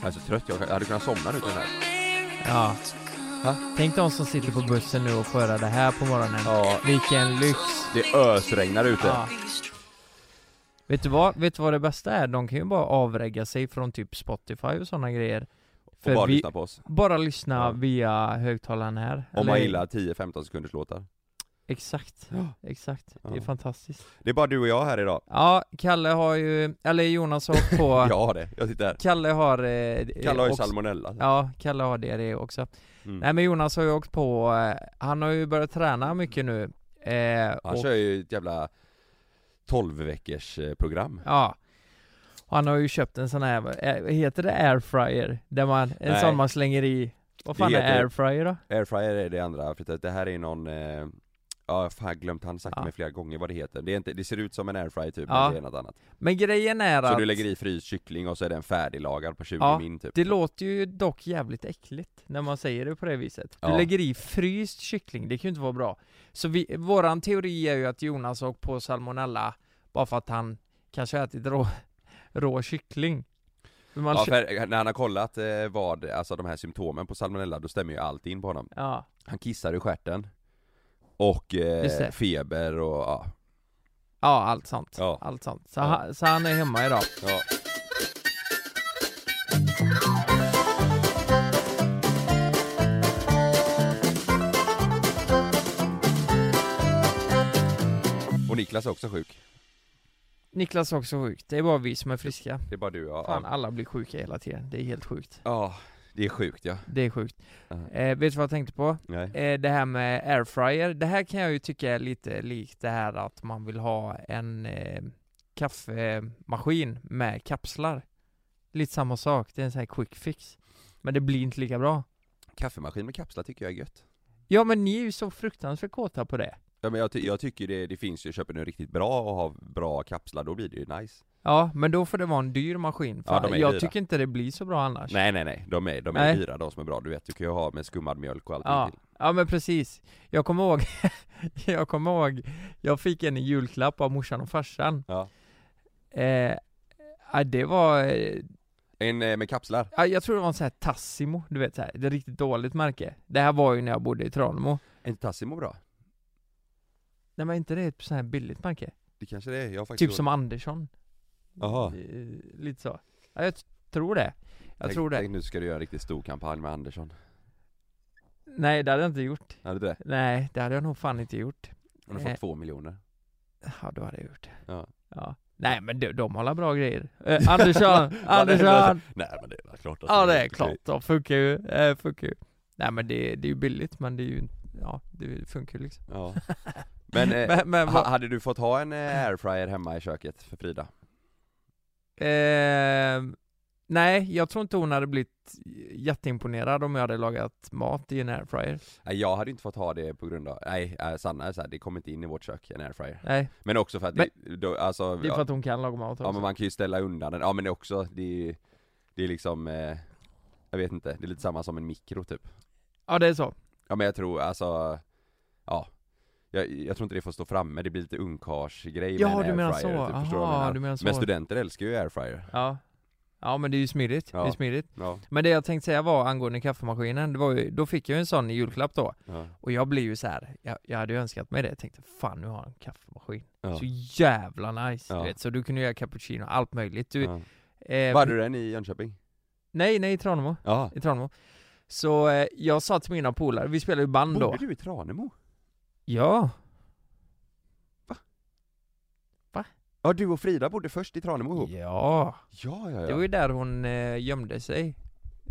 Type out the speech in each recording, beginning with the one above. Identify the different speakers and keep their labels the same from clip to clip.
Speaker 1: Jag är så trött, jag hade kunnat somna nu till den här.
Speaker 2: Ja.
Speaker 1: Ha?
Speaker 2: Tänk de som sitter på bussen nu och får höra det här på morgonen.
Speaker 1: Ja,
Speaker 2: Vilken lyx.
Speaker 1: det ösregnar ute.
Speaker 2: Ja. Vet du vad, vet du vad det bästa är? De kan ju bara avregga sig från typ Spotify och sådana grejer.
Speaker 1: och bara
Speaker 2: För vi,
Speaker 1: lyssna på oss.
Speaker 2: bara lyssna
Speaker 1: Ja.
Speaker 2: via högtalaren här.
Speaker 1: Om man
Speaker 2: Eller-
Speaker 1: gillar 10-15 sekunders låtar.
Speaker 2: Exakt, exakt. Det är
Speaker 1: Ja.
Speaker 2: fantastiskt.
Speaker 1: Det är bara du och jag här idag.
Speaker 2: Ja, Kalle har ju, eller Jonas har hållit på
Speaker 1: Jag har det, jag sitter här.
Speaker 2: Kalle har... Eh,
Speaker 1: Kalle har ju
Speaker 2: också-
Speaker 1: salmonella.
Speaker 2: Ja, Kalle har diarré också.
Speaker 1: Mm.
Speaker 2: Nej men Jonas har ju åkt på, eh, han har ju börjat träna mycket nu. Eh,
Speaker 1: Han
Speaker 2: och,
Speaker 1: kör ju ett jävla 12 veckors eh, program.
Speaker 2: ja. Och han har ju köpt en sån här, eh, heter det airfryer? Där man, en
Speaker 1: Nej.
Speaker 2: sån man slänger i, vad
Speaker 1: Det
Speaker 2: fan är
Speaker 1: heter-
Speaker 2: airfryer då?
Speaker 1: Airfryer är det andra, för att det här är ju någon eh, Ja, fan, jag har glömt, han har sagt
Speaker 2: Ja.
Speaker 1: till mig flera gånger vad det heter. Det, är inte, det ser ut som en airfryer typ,
Speaker 2: Ja.
Speaker 1: men det är något annat.
Speaker 2: Men grejen är
Speaker 1: Så
Speaker 2: att,
Speaker 1: du lägger i fryst kyckling och så är den färdiglagad på 20
Speaker 2: Ja,
Speaker 1: min typ.
Speaker 2: det låter ju dock jävligt äckligt när man säger det på det viset. Du
Speaker 1: Ja.
Speaker 2: lägger i fryst kyckling, det kan ju inte vara bra. Så vi, våran teori är ju att Jonas har åkt på salmonella bara för att han kanske har ätit rå, rå kyckling. Men Man
Speaker 1: Ja,
Speaker 2: kö-
Speaker 1: för när han har kollat eh, vad, alltså de här symptomen på salmonella, då stämmer ju allt in på honom.
Speaker 2: ja.
Speaker 1: Han kissar i stjärten Och
Speaker 2: Just det.
Speaker 1: eh, feber och ja.
Speaker 2: Ja, allt sånt.
Speaker 1: Ja.
Speaker 2: Allt sånt. Så,
Speaker 1: Ja.
Speaker 2: han, så han är hemma idag.
Speaker 1: ja. Och Niklas är också sjuk.
Speaker 2: Niklas är också sjuk. Det är bara vi som är friska.
Speaker 1: Det är bara du och jag.
Speaker 2: Fan,
Speaker 1: Ja.
Speaker 2: alla blir sjuka hela tiden. Det är helt sjukt.
Speaker 1: Ja, det är sjukt ja.
Speaker 2: Det är sjukt.
Speaker 1: Ja.
Speaker 2: Eh, vet du vad jag tänkte på?
Speaker 1: Nej.
Speaker 2: Eh, det här med airfryer. Det här kan jag ju tycka är lite likt det här att man vill ha en eh, kaffemaskin med kapslar. Lite samma sak. Det är en sån här quick fix. Men det blir inte lika bra.
Speaker 1: Kaffemaskin med kapslar tycker jag är gött.
Speaker 2: Ja, men ni är ju så fruktansvärt kåta på det.
Speaker 1: Ja, men jag, ty- jag tycker det, det finns ju, köper du en riktigt bra och har bra kapslar då blir det ju nice.
Speaker 2: Ja, men då får det vara en dyr maskin. För
Speaker 1: Ja, de är
Speaker 2: jag
Speaker 1: dyra.
Speaker 2: tycker inte det blir så bra annars.
Speaker 1: Nej nej nej, de är, de är
Speaker 2: Nej.
Speaker 1: dyra de som är bra. Du vet, du kan ju ha med skummad mjölk och allting
Speaker 2: Ja,
Speaker 1: till.
Speaker 2: ja men precis. Jag kommer ihåg, jag kommer ihåg, jag fick en i julklapp av morsan och farsan.
Speaker 1: Ja.
Speaker 2: Eh, ja, det var, eh,
Speaker 1: En eh, med kapslar.
Speaker 2: ja, jag tror det var en sån här Tassimo, du vet så här, det är riktigt dåligt märke. Det här var ju när jag bodde i Tranemo.
Speaker 1: Är inte Tassimo bra?
Speaker 2: Nej men inte det ett sånt här billigt märke?
Speaker 1: Det kanske det är, jag har faktiskt
Speaker 2: Typ som Andersson.
Speaker 1: Jaha.
Speaker 2: Eh, Lite så. Ja, jag t- tror det. Jag
Speaker 1: tänk,
Speaker 2: tror det.
Speaker 1: Tänk, nu ska du göra en riktigt stor kampanj med Andersson
Speaker 2: Nej, det hade jag inte gjort.
Speaker 1: Är det det?
Speaker 2: Nej, det hade jag nog fan inte gjort.
Speaker 1: Han har fått
Speaker 2: Eh.
Speaker 1: två miljoner
Speaker 2: Ja, då hade jag gjort det.
Speaker 1: Ja.
Speaker 2: ja. Nej men de, de håller bra grejer. Eh, Andersson, Andersson!
Speaker 1: Nej men det är väl klart att
Speaker 2: Ja det är klart, de funkar ju, eh, funkar ju. Nej men det, det är ju billigt men det är ju, ja det funkar ju liksom
Speaker 1: Ja Men, eh,
Speaker 2: Men, men
Speaker 1: ha,
Speaker 2: vad,
Speaker 1: hade du fått ha en eh, airfryer hemma i köket för Frida?
Speaker 2: ehm, nej jag tror inte hon hade blivit jätteimponerad om jag hade lagat mat i en airfryer.
Speaker 1: Nej jag hade inte fått ha det på grund av, nej eh, Sanna är så här, det kommer inte in i vårt kök, en airfryer
Speaker 2: Nej,
Speaker 1: Men också för att det, då, alltså
Speaker 2: det är för
Speaker 1: ja,
Speaker 2: att hon kan laga mat också.
Speaker 1: ja men man kan ju ställa undan den, ja men det är också, det är ju- Det är liksom, eh, jag vet inte, det är lite samma som en mikro typ
Speaker 2: Ja, det är så.
Speaker 1: Ja men jag tror alltså, ja jag, jag tror inte det får stå framme, det blir lite ungkarlsgrej med
Speaker 2: Ja
Speaker 1: en
Speaker 2: du menar så,
Speaker 1: airfryer, typ, förstår du vad jag
Speaker 2: aha,
Speaker 1: menar?
Speaker 2: du menar så.
Speaker 1: Men studenter älskar ju airfryer
Speaker 2: Ja. Ja men det är ju smidigt, det är
Speaker 1: Ja.
Speaker 2: smidigt.
Speaker 1: Ja,
Speaker 2: Men det jag tänkte säga var angående kaffemaskinen, det var ju, då fick jag ju en sån i julklapp då.
Speaker 1: ja,
Speaker 2: Och jag blev ju så här. Jag, jag hade ju önskat mig det, jag tänkte fan nu har jag en kaffemaskin.
Speaker 1: ja,
Speaker 2: Så jävla nice,
Speaker 1: Ja.
Speaker 2: du vet. Så du kunde göra cappuccino, allt möjligt. Du,
Speaker 1: ja.
Speaker 2: eh,
Speaker 1: Var du den i Jönköping?
Speaker 2: Nej, nej, i Tranemo.
Speaker 1: Ja
Speaker 2: I Tranemo. Så eh, jag sa till mina polare, vi spelade ju band då.
Speaker 1: Bodde du i Tranemo?
Speaker 2: Ja,
Speaker 1: Ja du och Frida bodde först i Tranemo ihop?
Speaker 2: ja.
Speaker 1: Oh. Ja ja ja
Speaker 2: Det var ju där hon eh, gömde sig.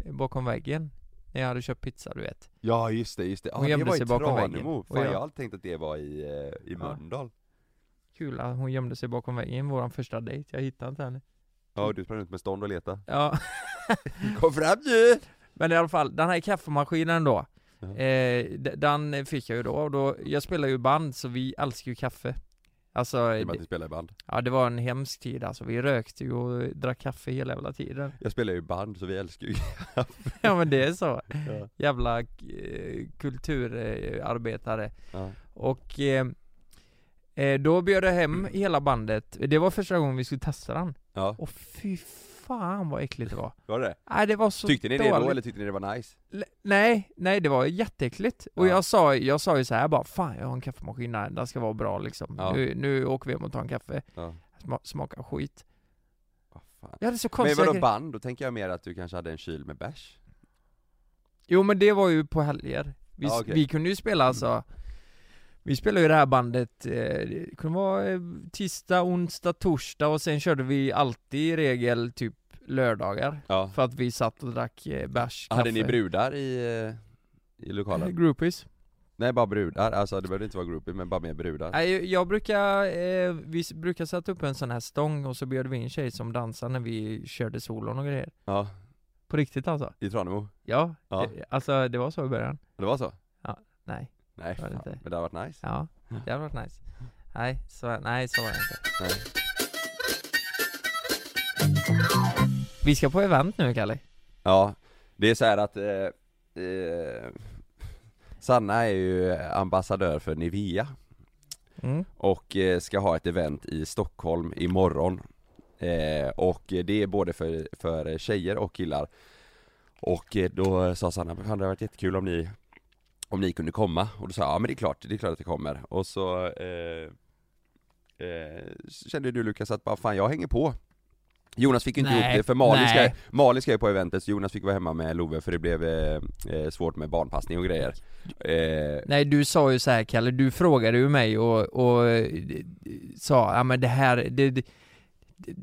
Speaker 2: eh, Bakom väggen. när jag hade köpt pizza du vet
Speaker 1: Ja just det, just det.
Speaker 2: Hon
Speaker 1: Ah, det
Speaker 2: gömde
Speaker 1: var
Speaker 2: sig
Speaker 1: i
Speaker 2: bakom väggen.
Speaker 1: Tranemo,
Speaker 2: Och
Speaker 1: fan
Speaker 2: jag-
Speaker 1: jag hade tänkt att det var i, eh, i
Speaker 2: Ja.
Speaker 1: Mölndal
Speaker 2: Kul att hon gömde sig bakom väggen, våran första dejt, jag hittade inte henne
Speaker 1: Ja och du sprang runt med stånd och leta
Speaker 2: Ja,
Speaker 1: Kom fram nu!
Speaker 2: men i alla fall, den här kaffemaskinen då
Speaker 1: Ja.
Speaker 2: eh, d- Den fick jag ju då, och då, jag spelar ju band så vi älskar ju kaffe Alltså,
Speaker 1: I och med att
Speaker 2: d-
Speaker 1: ni spelar i band
Speaker 2: ja det var en hemsk tid alltså, vi rökte ju och drack kaffe hela jävla tiden
Speaker 1: Jag spelar ju i band så vi älskar ju
Speaker 2: Ja men det är så,
Speaker 1: ja.
Speaker 2: jävla eh, kulturarbetare
Speaker 1: Ja.
Speaker 2: Och eh, eh, då bjöd jag hem hela bandet, det var första gången vi skulle testa den
Speaker 1: ja,
Speaker 2: Och fy fan vad äckligt det var
Speaker 1: var det
Speaker 2: Nej det var så
Speaker 1: Tyckte ni det
Speaker 2: dåligt.
Speaker 1: då eller tyckte ni det var nice?
Speaker 2: L- Nej, nej det var jätteäckligt. Och
Speaker 1: Ja.
Speaker 2: jag sa, jag sa ju så här bara, fan jag har en kaffemaskin där, den ska vara bra liksom.
Speaker 1: Ja.
Speaker 2: Nu, nu åker vi hem och tar en kaffe.
Speaker 1: Ja,
Speaker 2: Sma, smakar skit.
Speaker 1: vad fan
Speaker 2: Jag hade så
Speaker 1: Men
Speaker 2: konstiga
Speaker 1: vadå
Speaker 2: grejer.
Speaker 1: band? Då tänker jag mer att du kanske hade en kyl med bärs
Speaker 2: Jo men det var ju på helger. Vi,
Speaker 1: Ja, okej. Mm.
Speaker 2: vi kunde ju spela alltså, vi spelade ju det här bandet, eh, det kunde vara eh, tisdag, onsdag, torsdag och sen körde vi alltid i regel typ lördagar.
Speaker 1: Ja
Speaker 2: För att vi satt och drack eh, bärs, kaffe.
Speaker 1: Hade ni brudar i, eh, i lokalen?
Speaker 2: Groupies.
Speaker 1: Nej bara brudar, alltså det behövde inte vara groupie men bara mer brudar
Speaker 2: Nej, jag brukar, eh, vi s- brukar sätta upp en sån här stång och så bjöd vi in tjej som dansade när vi körde solon och grejer
Speaker 1: Ja,
Speaker 2: På riktigt alltså?
Speaker 1: i Tranemo?
Speaker 2: Ja,
Speaker 1: Ja.
Speaker 2: Det, alltså det var så i början
Speaker 1: Det var så?
Speaker 2: Nej,
Speaker 1: Nej
Speaker 2: Var det
Speaker 1: fan,
Speaker 2: inte?
Speaker 1: men det hade varit nice
Speaker 2: ja, det hade varit nice Nej, så, nej, så var det inte
Speaker 1: Nej.
Speaker 2: Vi ska på event nu Kalle
Speaker 1: Ja, det är så här att eh, eh, Sanna är ju ambassadör för Nivea
Speaker 2: mm.
Speaker 1: och eh, ska ha ett event i Stockholm imorgon eh, Och det är både för, för tjejer och killar Och eh, då sa Sanna, "Fan, det hade varit jättekul om ni Om ni kunde komma och då sa jag, ja men det är klart, det är klart att det kommer och så eh, eh, Kände du Lukas att bara fan jag hänger på Jonas fick ju inte
Speaker 2: Nej,
Speaker 1: ihop det för Malin ska,
Speaker 2: nej.
Speaker 1: Malin ska ju på eventet så Jonas fick vara hemma med Love för det blev eh, eh, svårt med barnpassning och grejer eh,
Speaker 2: Nej du sa ju så här Kalle, du frågade ju mig och, och eh, sa, ja men det här, det, det,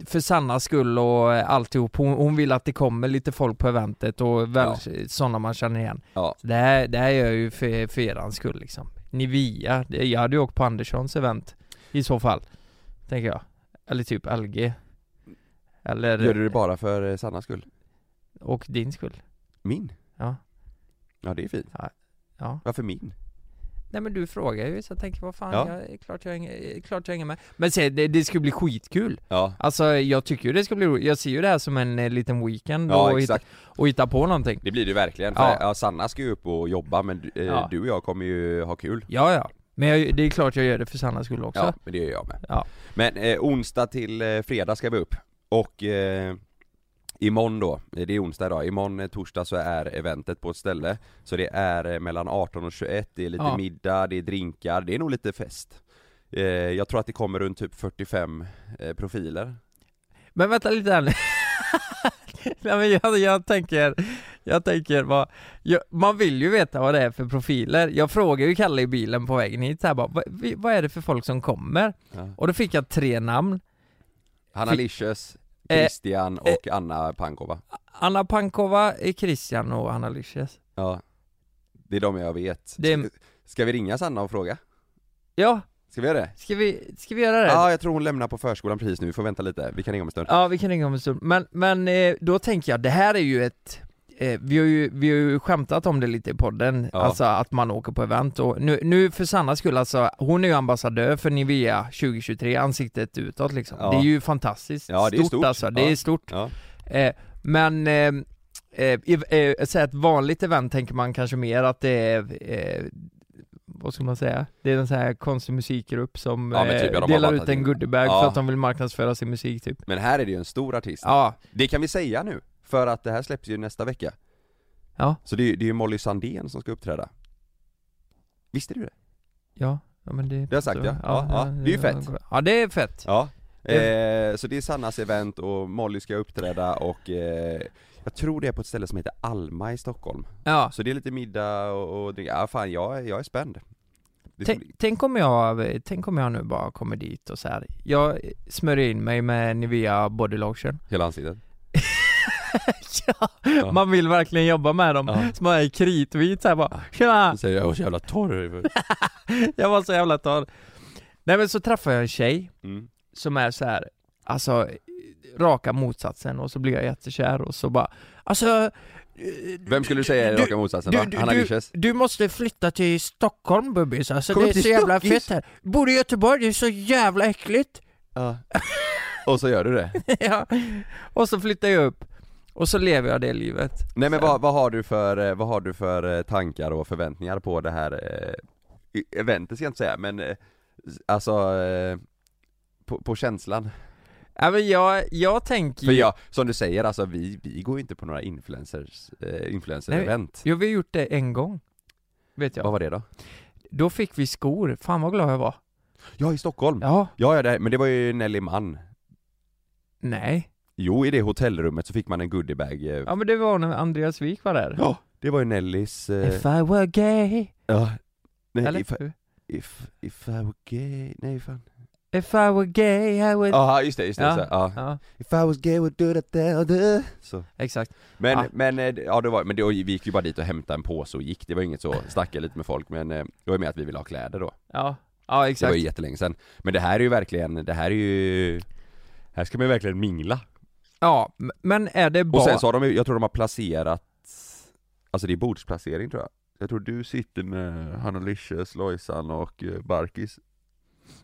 Speaker 2: för Sannas skull och alltihop, hon, hon vill att det kommer lite folk på eventet och väl, sådana man känner igen
Speaker 1: Ja,
Speaker 2: Så Det här, det här gör jag ju för, för erans skull liksom Nivea, det, jag hade ju åkt på Anderssons event I så fall Tänker jag Eller typ LG Eller
Speaker 1: gör du det bara för eh, Sannas skull?
Speaker 2: Och din skull
Speaker 1: Min?
Speaker 2: Ja.
Speaker 1: Ja det är fint.
Speaker 2: Ja. Ja
Speaker 1: Varför min?
Speaker 2: Nej men du frågar ju så jag tänker vad fan,
Speaker 1: Ja.
Speaker 2: jag, är klart, jag hänger, är klart jag hänger med Men se, det, det skulle bli skitkul
Speaker 1: Ja.
Speaker 2: Alltså jag tycker ju det ska bli roligt, jag ser ju det här som en eh, liten weekend
Speaker 1: Ja
Speaker 2: och, hitta,
Speaker 1: exakt,
Speaker 2: och hitta på någonting
Speaker 1: det blir det ju verkligen. För,
Speaker 2: Ja.
Speaker 1: ja. Sanna ska ju upp och jobba men du- eh,
Speaker 2: Ja.
Speaker 1: du och jag kommer ju ha kul.
Speaker 2: Ja ja, men jag, det är klart jag gör det för Sannas skull också
Speaker 1: Ja, men det gör jag med.
Speaker 2: Ja.
Speaker 1: Men eh, onsdag till eh, fredag ska vi upp. Och eh, imorgon då, eh, det är onsdag idag, imorgon eh, torsdag så är eventet på ett ställe. Så det är eh, mellan 18 och 21, det är lite
Speaker 2: Ja.
Speaker 1: middag, det är drinkar, det är nog lite fest. Eh, jag tror att det kommer runt typ 45 eh, profiler.
Speaker 2: Men vänta lite här nu. Nej men jag, jag tänker, jag tänker vad, jag, man vill ju veta vad det är för profiler. Jag frågade ju Kalle i bilen på vägen hit så här bara, vad, vi- vad är det för folk som kommer?
Speaker 1: Ja.
Speaker 2: Och då fick jag tre namn.
Speaker 1: Hanna
Speaker 2: Fick-
Speaker 1: Licious,
Speaker 2: Eh,
Speaker 1: Christian och Anna Pankova
Speaker 2: Anna Pankova, eh, Christian och Anna Lysias.
Speaker 1: Ja Det är de jag vet
Speaker 2: Det är-
Speaker 1: Ska- Ska vi ringa Sanna och fråga?
Speaker 2: Ja,
Speaker 1: Ska vi göra det?
Speaker 2: ska vi, ska vi göra det?
Speaker 1: Ja, jag tror hon lämnar på förskolan precis nu, vi får vänta lite, vi kan ringa om en stund
Speaker 2: Ja, vi kan ringa om en stund. Men, men eh, då tänker jag, det här är ju ett eh, vi, har ju, vi har ju skämtat om det lite i podden,
Speaker 1: Ja.
Speaker 2: alltså att man åker på event och nu, nu för Sannas skull alltså, hon är ju ambassadör för Nivea 2023, ansiktet utåt liksom.
Speaker 1: Ja.
Speaker 2: Det är ju fantastiskt
Speaker 1: Ja, det är stort.
Speaker 2: alltså, det
Speaker 1: Ja.
Speaker 2: är stort.
Speaker 1: Ja,
Speaker 2: Eh, men eh, eh, ev- eh, så här ett vanligt event tänker man kanske mer att det är eh, vad ska man säga? Det är en sån här konstig musikgrupp som
Speaker 1: Ja, men typ, ja,
Speaker 2: eh,
Speaker 1: de har
Speaker 2: delar
Speaker 1: bara
Speaker 2: ut en
Speaker 1: tagit-
Speaker 2: goodiebag
Speaker 1: Ja.
Speaker 2: för att de vill marknadsföra sin musik typ.
Speaker 1: men här är det ju en stor artist
Speaker 2: Ja,
Speaker 1: Det kan vi säga nu, för att det här släpps ju nästa vecka
Speaker 2: Ja.
Speaker 1: Så det är ju det är ju Molly Sandén som ska uppträda Visste du det?
Speaker 2: Ja, ja men det...
Speaker 1: Det har jag sagt, ja. Ja, ja. Det är ju fett.
Speaker 2: Ja det är fett.
Speaker 1: Ja Eh, så det är Sannas event och Molly ska uppträda och eh, jag tror det är på ett ställe som heter Alma i Stockholm
Speaker 2: Ja.
Speaker 1: Så Alltså, det är lite middag och, och dricka, ja fan jag, är- jag är spänd det ska
Speaker 2: Tänk,
Speaker 1: bli,
Speaker 2: tänk, om jag, tänk om jag nu bara kommer dit och så här. jag smörjer in mig med Nivea body lotion
Speaker 1: Hela ansiktet? Ja.
Speaker 2: Man vill verkligen jobba med dem.
Speaker 1: Ja.
Speaker 2: Så man är kritvit såhär bara Tjena!
Speaker 1: Så säger jag, jag är så jävla torr.
Speaker 2: Jag var så jävla torr. Nej men så träffade jag en tjej
Speaker 1: Mm.
Speaker 2: som är så här, alltså raka motsatsen och så blir jag jättekär och så bara Alltså eh,
Speaker 1: Vem skulle du säga är
Speaker 2: du-
Speaker 1: raka motsatsen
Speaker 2: du-
Speaker 1: va?
Speaker 2: du-
Speaker 1: Hanna
Speaker 2: du-
Speaker 1: Gürses?
Speaker 2: Du måste flytta till Stockholm bubbis, alltså
Speaker 1: Kom
Speaker 2: det är
Speaker 1: upp till
Speaker 2: så jävla
Speaker 1: Stockis.
Speaker 2: fett här. Bor i Göteborg, det är så jävla äckligt.
Speaker 1: Ja. Och så gör du det.
Speaker 2: ja. Och så flyttar jag upp och så lever jag det livet.
Speaker 1: Nej men vad, vad har du för, eh, vad har du för eh, tankar och förväntningar på det här eh, i- eventet ska jag inte säga men eh, s- alltså eh, på, på känslan.
Speaker 2: Ja, men jag, jag tänker
Speaker 1: För
Speaker 2: ju-
Speaker 1: jag, som du säger alltså vi, vi går ju inte på några influencers, eh, influencer-event.
Speaker 2: Jo, vi har gjort det en gång. Vet jag.
Speaker 1: Vad var det då?
Speaker 2: Då fick vi skor. Fan vad glad jag var.
Speaker 1: Ja i Stockholm! Ja
Speaker 2: Ja.
Speaker 1: ja, det, men det var ju Nelly Mann.
Speaker 2: Nej.
Speaker 1: Jo i det hotellrummet så fick man en goodiebag. eh.
Speaker 2: Ja men det var när Andreas Wik var där.
Speaker 1: Ja, det var ju Nellys... Eh,
Speaker 2: If I were gay.
Speaker 1: ja. Nej,
Speaker 2: Eller?
Speaker 1: Eh, if, if, if I were gay, nej fan.
Speaker 2: If I were gay I would...
Speaker 1: Jaha just det, just det.
Speaker 2: Ja.
Speaker 1: Så, här, ja.
Speaker 2: Ja,
Speaker 1: If I was gay would do that there, there. Så.
Speaker 2: exakt.
Speaker 1: Men,
Speaker 2: Ja.
Speaker 1: men, eh, ja det var, men det, och vi gick ju bara dit och hämtade en påse och gick, det var inget så, snackade lite med folk men eh, det var ju med att vi ville ha kläder då.
Speaker 2: Ja, ja
Speaker 1: Det var
Speaker 2: exakt.
Speaker 1: ju jättelänge sedan. Men det här är ju verkligen, det här är ju, här ska man ju verkligen mingla.
Speaker 2: Ja, m- men är det
Speaker 1: Och
Speaker 2: bara...
Speaker 1: sen så har de ju, jag tror de har placerat, alltså det är bordsplacering tror jag. Jag tror du sitter med Hanna Licious, Lojsan och eh, Barkis.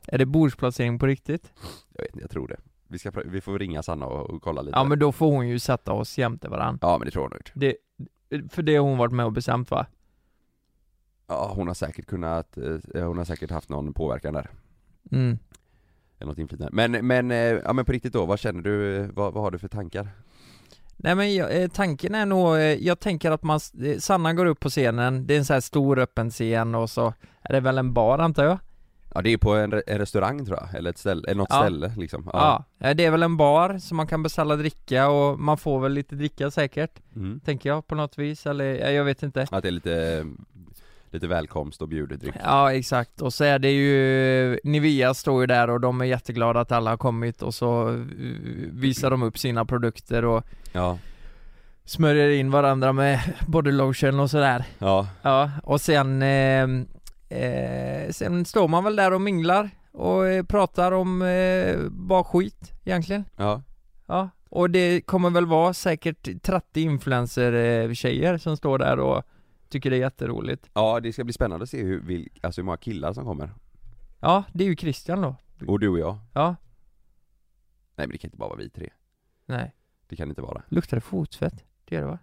Speaker 2: Är det bordsplacering på riktigt?
Speaker 1: Jag vet inte, jag tror det. Vi, ska, pra- vi får ringa Sanna och, och kolla lite.
Speaker 2: Ja men då får hon ju sätta oss jämte varann.
Speaker 1: ja men det tror jag nog.
Speaker 2: Det, för det har hon varit med och bestämt va?
Speaker 1: Ja hon har säkert kunnat, eh, hon har säkert haft någon påverkan där.
Speaker 2: Mm.
Speaker 1: Eller något inflytande. Men, men, eh, ja men på riktigt då, vad känner du, eh, vad, vad har du för tankar?
Speaker 2: Nej men jag, eh, tanken är nog, eh, jag tänker att man, s- eh, Sanna går upp på scenen, det är en sån här stor öppen scen och så är det väl en bar antar jag?
Speaker 1: Ja det är på en, re- en restaurang tror jag, eller ett ställe, eller något
Speaker 2: Ja.
Speaker 1: ställe liksom
Speaker 2: Ja. eh, det är väl en bar som man kan beställa dricka och man får väl lite dricka säkert,
Speaker 1: Mm.
Speaker 2: tänker jag på något vis, eller eh, jag vet inte.
Speaker 1: Att det är lite, eh, lite välkomst och bjudedryck
Speaker 2: Ja exakt, och så är det ju, Nivea står ju där och de är jätteglada att alla har kommit och så eh, visar de upp sina produkter och
Speaker 1: Ja,
Speaker 2: smörjer in varandra med body lotion och sådär.
Speaker 1: ja,
Speaker 2: Ja, och sen, eh, eh, sen står man väl där och minglar och eh, pratar om eh, bara skit egentligen.
Speaker 1: ja,
Speaker 2: Ja, och det kommer väl vara säkert 30 influencer-tjejer som står där och tycker det är jätteroligt.
Speaker 1: ja det ska bli spännande att se hur, vil, alltså hur många killar som kommer
Speaker 2: Ja, det är ju Christian då.
Speaker 1: Och du och jag
Speaker 2: Ja,
Speaker 1: Nej men det kan inte bara vara vi tre,
Speaker 2: nej.
Speaker 1: det kan inte vara
Speaker 2: Luktar det fotfett? Det gör det va?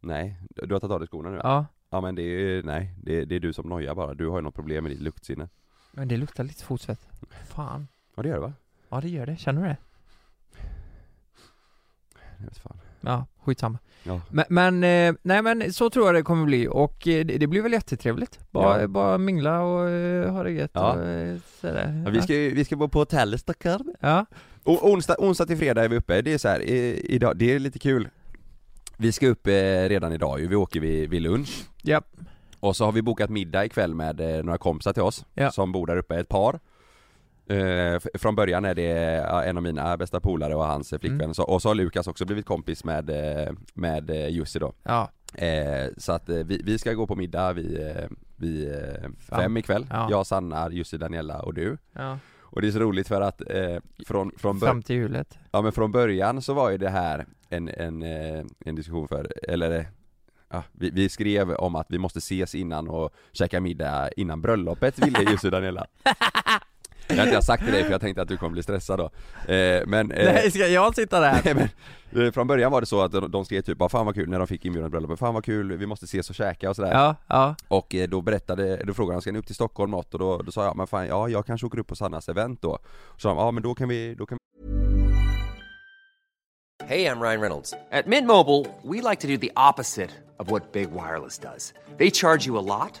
Speaker 1: Nej, du du har tagit av dig skorna nu? Ja,
Speaker 2: Ja,
Speaker 1: men det är, nej, det, det är du som nojar bara, du har ju något problem med ditt luktsinne
Speaker 2: men det luktar lite fotfett. Fan.
Speaker 1: Ja det gör det va?
Speaker 2: Ja, det gör det. Känner du det?
Speaker 1: Jag vet fan
Speaker 2: Ja, skitsamma.
Speaker 1: Ja.
Speaker 2: Men, men, eh, nej men så tror jag det kommer bli och eh, det, det blir väl jättetrevligt. Bara,
Speaker 1: Ja.
Speaker 2: bara mingla och eh, ha det gött
Speaker 1: Ja.
Speaker 2: och eh, sådär.
Speaker 1: ja, vi, ska, ju- vi ska bo på hotell i Stockholm
Speaker 2: Ja,
Speaker 1: Och onsdag, onsdag till fredag är vi uppe, det är så här, i, idag, det är lite kul Vi ska upp eh, redan idag ju, vi åker vid, vid lunch
Speaker 2: ja,
Speaker 1: Och så har vi bokat middag ikväll med eh, några kompisar till oss
Speaker 2: Ja.
Speaker 1: som bor där uppe, ett par eh, f- Från början är det ja, en av mina bästa polare och hans eh, flickvän
Speaker 2: Mm.
Speaker 1: så, och så har Lukas också blivit kompis med, eh, med eh, Jussi då
Speaker 2: ja,
Speaker 1: eh, Så att eh, vi, vi ska gå på middag vid, eh, vid eh,
Speaker 2: Fem.
Speaker 1: fem ikväll,
Speaker 2: Ja.
Speaker 1: jag, Sanna, Jussi, Daniela och du
Speaker 2: ja.
Speaker 1: Och det är så roligt för att eh, från, från början
Speaker 2: Fram till hjulet.
Speaker 1: Ja men från början så var ju det här en, en, eh, en diskussion för, eller eh, ja, vi, vi skrev om att vi måste ses innan och käka middag innan bröllopet ville Jussi och Daniela Jag har inte jag sagt till dig för jag tänkte att du kommer bli stressad då eh, Men, eh,
Speaker 2: Nej, ska jag sitta där?
Speaker 1: nej, men eh, från början var det så att de de skrev typ bara 'Fan vad kul' när de fick inbjudan till bröllopet, 'Fan vad kul, vi måste ses och käka' och sådär
Speaker 2: Ja, ja,
Speaker 1: Och eh, då berättade, då frågade de 'Ska ni upp till Stockholm något?' och då, då sa jag 'Men fan, ja jag kanske åker upp på Sannas event då' Så sa de 'Ja men då kan vi, då kan
Speaker 3: Hey, I'm Ryan Reynolds. At Mint Mobile, we like to do the opposite of what Big Wireless does. They charge you a lot,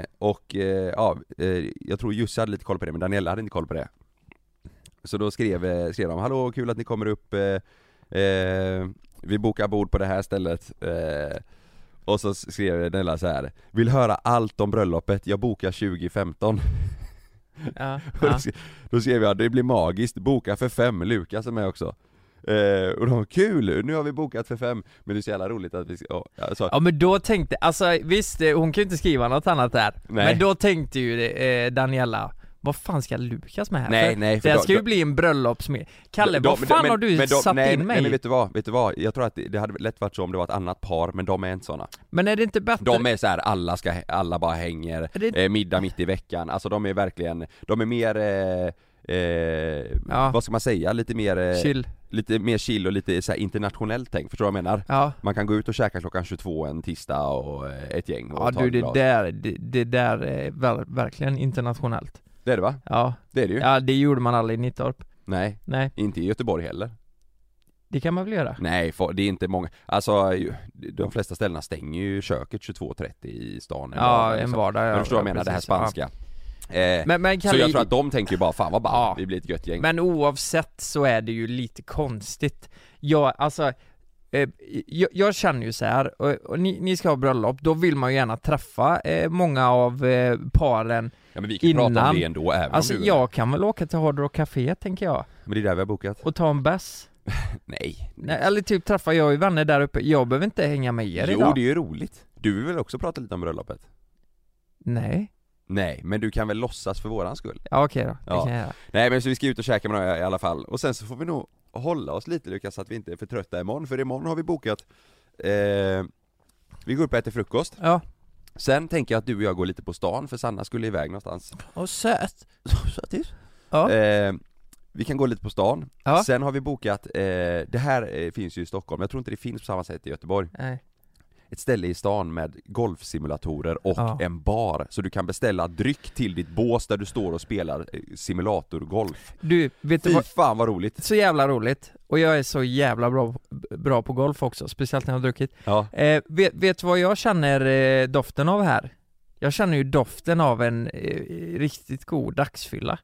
Speaker 1: eh, Och eh, ja, eh, jag tror Jussi hade lite koll på det men Daniela hade inte koll på det Så då skrev, eh, skrev de 'Hallå, kul att ni kommer upp' eh, Eh, vi bokar bord på det här stället eh, Och så skrev Nella så här Vill höra allt om bröllopet, jag bokar 2015
Speaker 2: Ja,
Speaker 1: Och då
Speaker 2: ja.
Speaker 1: sk- Då skrev jag, det blir magiskt, boka för fem, Lukas är med också eh, Och de, kul! Nu har vi bokat för fem Men det är så jävla roligt att vi ska, ja, alltså,
Speaker 2: ja men då tänkte, alltså visst eh, hon kan ju inte skriva något annat där
Speaker 1: Nej.
Speaker 2: Men då tänkte ju eh, Daniela vad fan ska Lukas med här?
Speaker 1: Nej,
Speaker 2: för
Speaker 1: nej, för
Speaker 2: Det här
Speaker 1: då-
Speaker 2: ska ju
Speaker 1: då-
Speaker 2: bli en bröllopsmed Kalle,
Speaker 1: de-
Speaker 2: vad
Speaker 1: men-
Speaker 2: fan
Speaker 1: men-
Speaker 2: har du
Speaker 1: men de-
Speaker 2: satt
Speaker 1: nej,
Speaker 2: in mig
Speaker 1: Nej men
Speaker 2: men,
Speaker 1: vet du vad, vet du vad? Jag tror att det, det hade lätt varit så om det var ett annat par, men de är inte sådana
Speaker 2: men är det inte bättre?
Speaker 1: De är så här, alla ska, alla bara hänger,
Speaker 2: Är det-
Speaker 1: eh, middag mitt i veckan, alltså de är verkligen, de är mer, eh, eh,
Speaker 2: Ja.
Speaker 1: vad ska man säga, lite mer, eh,
Speaker 2: Chill,
Speaker 1: lite mer chill och lite så här internationellt tänk, förstår du vad jag menar?
Speaker 2: ja
Speaker 1: Man kan gå ut och käka klockan 22 en tisdag och eh, ett gäng och
Speaker 2: Ja
Speaker 1: ta
Speaker 2: du
Speaker 1: ett
Speaker 2: det
Speaker 1: glas.
Speaker 2: där, det, det där är ver- verkligen internationellt
Speaker 1: Det är det va?
Speaker 2: Ja,
Speaker 1: Det är det ju.
Speaker 2: ja det gjorde man aldrig i Nittorp
Speaker 1: Nej,
Speaker 2: Nej,
Speaker 1: inte i Göteborg heller.
Speaker 2: det kan man väl göra?
Speaker 1: Nej, för- det är inte många, alltså ju- de flesta ställena stänger ju köket 22.30 i stan
Speaker 2: Ja,
Speaker 1: liksom.
Speaker 2: en vardag ja,
Speaker 1: Men förstår
Speaker 2: ja,
Speaker 1: vad jag menar, det här
Speaker 2: precis,
Speaker 1: spanska. Eh,
Speaker 2: ja. Men, men Kalle,
Speaker 1: så jag tror att de tänker ju bara 'Fan vad ball,
Speaker 2: Ja.
Speaker 1: vi blir ett gött gäng'
Speaker 2: Men oavsett så är det ju lite konstigt. Jag, alltså, eh, jag, jag känner ju så här, och, och ni, ni ska ha bröllop, då vill man ju gärna träffa eh, många av eh, paren.
Speaker 1: Ja men vi kan ju prata om
Speaker 2: Innan-
Speaker 1: det ändå även
Speaker 2: Alltså
Speaker 1: om du
Speaker 2: jag kan väl åka till Hard Rock Café tänker jag,
Speaker 1: Men det är där vi har bokat
Speaker 2: och ta en bärs.
Speaker 1: Nej,
Speaker 2: Nej, Eller typ träffa, jag och vänner där uppe, jag behöver inte hänga med er
Speaker 1: Jo
Speaker 2: idag.
Speaker 1: det är ju roligt Du vill väl också prata lite om bröllopet?
Speaker 2: Nej,
Speaker 1: Nej, men du kan väl låtsas för våran skull?
Speaker 2: ja, okej då, det
Speaker 1: Ja.
Speaker 2: kan jag göra.
Speaker 1: Nej men så vi ska ut och käka med några i alla fall Och sen så får vi nog hålla oss lite Lukas så att vi inte är för trötta imorgon För imorgon har vi bokat eh, Vi går upp och äter frukost
Speaker 2: Ja,
Speaker 1: Sen tänker jag att du och jag går lite på stan för Sanna skulle iväg någonstans
Speaker 2: och söt.
Speaker 1: Sötis
Speaker 2: Ja.
Speaker 1: eh, Vi kan gå lite på stan
Speaker 2: Ja.
Speaker 1: Sen har vi bokat, eh, det här eh, finns ju i Stockholm Jag tror inte det finns på samma sätt i Göteborg
Speaker 2: Nej.
Speaker 1: ett ställe i stan med golfsimulatorer och
Speaker 2: Ja.
Speaker 1: en bar så du kan beställa dryck till ditt bås där du står och spelar eh, simulatorgolf.
Speaker 2: Du, vet du
Speaker 1: Fy
Speaker 2: vad?
Speaker 1: fan vad roligt!
Speaker 2: Så jävla roligt. Och jag är så jävla bra, bra på golf också, speciellt när jag har druckit.
Speaker 1: Ja.
Speaker 2: Eh, vet, vet du vad jag känner eh, doften av här? Jag känner ju doften av en eh, riktigt god dagsfylla.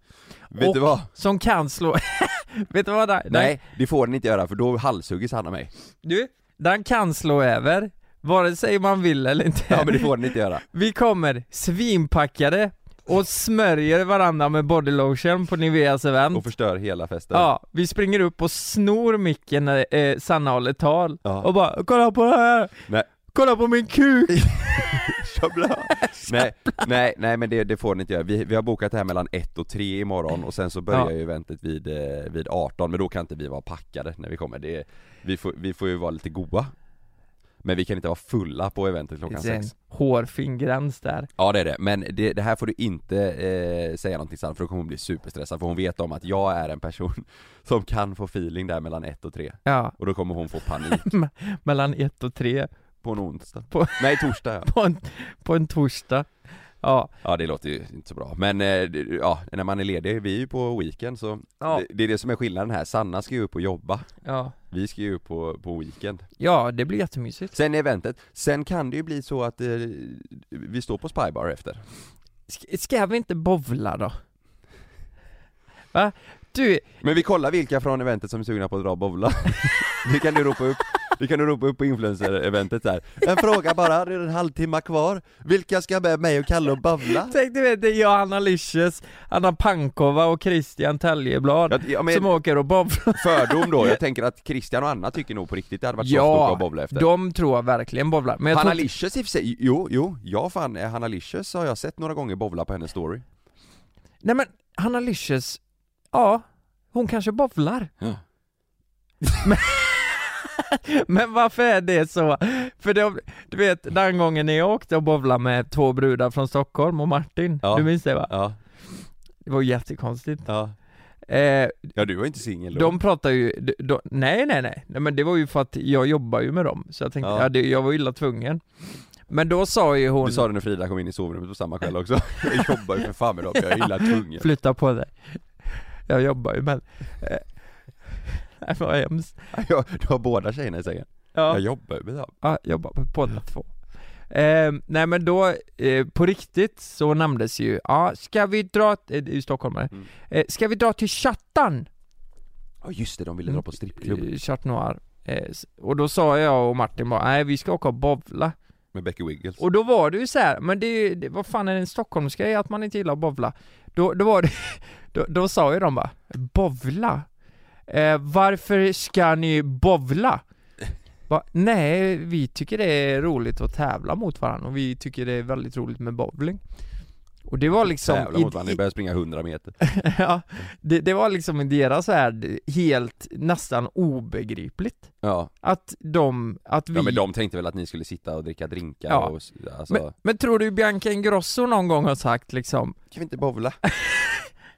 Speaker 1: Vet
Speaker 2: Och-
Speaker 1: du vad?
Speaker 2: Som kan slå... vet du vad? Den,
Speaker 1: Nej, det får den inte göra för då halshugger Sanna mig.
Speaker 2: Den, du, den kan slå över. Vare sig man vill eller inte.
Speaker 1: Ja men det får den inte göra.
Speaker 2: Vi kommer svinpackade och smörjer varandra med bodylotion på Niveas
Speaker 1: Och
Speaker 2: event.
Speaker 1: förstör hela festen.
Speaker 2: Ja, vi springer upp och snor micken när eh, Sanna håller tal.
Speaker 1: Ja.
Speaker 2: Och bara 'Kolla på det här!
Speaker 1: Nej.
Speaker 2: Kolla på min kuk!'
Speaker 1: Chabla. nej, nej, nej men det, det får den inte göra. Vi, vi har bokat det här mellan 1 och 3 imorgon och sen så börjar
Speaker 2: Ja.
Speaker 1: ju eventet vid, eh, vid 18 men då kan inte vi vara packade när vi kommer. Det, vi, får, vi får ju vara lite goa. Men vi kan inte vara fulla på eventet klockan
Speaker 2: Det är en
Speaker 1: 6.
Speaker 2: hårfin gräns där.
Speaker 1: Ja det är det, men det, det här får du inte eh, säga någonting sant för då kommer hon bli superstressad för hon vet om att jag är en person som kan få feeling där mellan 1 och 3
Speaker 2: Ja,
Speaker 1: och då kommer hon få panik
Speaker 2: mellan ett och tre
Speaker 1: på en onsdag.
Speaker 2: På-
Speaker 1: Nej torsdag ja.
Speaker 2: på en, på en torsdag. Ja,
Speaker 1: ja det låter ju inte så bra men eh, det- ja, när man är ledig, vi är ju på weekend så
Speaker 2: Ja.
Speaker 1: det, det är det som är skillnaden här, Sanna ska ju upp och jobba,
Speaker 2: ja.
Speaker 1: vi ska ju upp på, på weekend.
Speaker 2: Ja, det blir jättemysigt.
Speaker 1: Sen är eventet, sen kan det ju bli så att eh, vi står på Spybar efter.
Speaker 2: Ska, ska vi inte bovla då? Va? Du,
Speaker 1: Men vi kollar vilka från eventet som är sugna på att dra och bowla. Det kan du ropa upp, det kan du ropa upp på influencer-eventet där. En fråga bara, det är en halvtimme kvar. Vilka ska med mig och Kalle och bowla?
Speaker 2: tänk du vet, det är jag, Anna Lysches, Anna Pankova och Christian Täljeblad
Speaker 1: Jag, ja,
Speaker 2: som
Speaker 1: men
Speaker 2: åker och bovlar.
Speaker 1: fördom då, jag tänker att Christian och Anna tycker nog på riktigt det hade varit soft att åka och bowla efter.
Speaker 2: de tror jag verkligen bovlar. Men jag
Speaker 1: Hanna
Speaker 2: tror inte-
Speaker 1: Licious i och för sig, jo, jo, jag fan, eh, Hanna Licious har jag sett några gånger bowla på hennes story.
Speaker 2: Nej men, Hanna Lysches, ja, hon kanske bovlar.
Speaker 1: Ja.
Speaker 2: Men, men varför är det så? För de, du vet, den gången när jag åkte och bovlade med två brudar från Stockholm och Martin,
Speaker 1: Ja.
Speaker 2: du minns det va?
Speaker 1: Ja,
Speaker 2: Det var jättekonstigt.
Speaker 1: ja.
Speaker 2: Eh,
Speaker 1: Ja du var inte singel då.
Speaker 2: de pratar ju, de, de, nej, nej nej nej, men det var ju för att jag jobbar ju med dem, så jag tänkte,
Speaker 1: Ja.
Speaker 2: ja. det, jag var illa tvungen. Men då sa ju hon,
Speaker 1: Du sa det när Frida kom in i sovrummet på samma kväll också. Jag jobbar ju för fan med dem, jag är illa tvungen.
Speaker 2: flytta på dig. Jag jobbar ju men, eh, nej vad hemskt.
Speaker 1: Jag, du har båda tjejerna i sängen.
Speaker 2: Ja.
Speaker 1: Jag jobbar ju med dem.
Speaker 2: Ja, jobbar på båda två. Eh, nej men då, eh, på riktigt så nämndes ju, ja, ska vi dra, eh, det är ju stockholmare,
Speaker 1: Mm.
Speaker 2: eh, ska vi dra till Chattan?
Speaker 1: Ja just det, de ville dra på strippklubb
Speaker 2: Eh, Chat Noir. Eh, s- och då sa jag och Martin bara, nej vi ska åka och bovla.
Speaker 1: med Becky Wiggles
Speaker 2: Och då var det ju så här, men det är ju, det, vad fan är det en stockholmsgrej att man inte gillar att bovla? Då, då var det, då, då sa ju de bara, bovla? Eh, varför ska ni bovla? Va? Nej, vi tycker det är roligt att tävla mot varandra och vi tycker det är väldigt roligt med bowling. Och det var liksom...
Speaker 1: Tävla
Speaker 2: i-
Speaker 1: mot varandra, ni
Speaker 2: i-
Speaker 1: börjar springa 100 meter
Speaker 2: ja, det, det var liksom i deras värld helt nästan obegripligt.
Speaker 1: Ja,
Speaker 2: Att de, att vi...
Speaker 1: ja men de tänkte väl att ni skulle sitta och dricka drinkar
Speaker 2: Ja.
Speaker 1: och s- alltså,
Speaker 2: men, men tror du Bianca Ingrosso någon gång har sagt liksom,
Speaker 1: Kan vi inte bowla?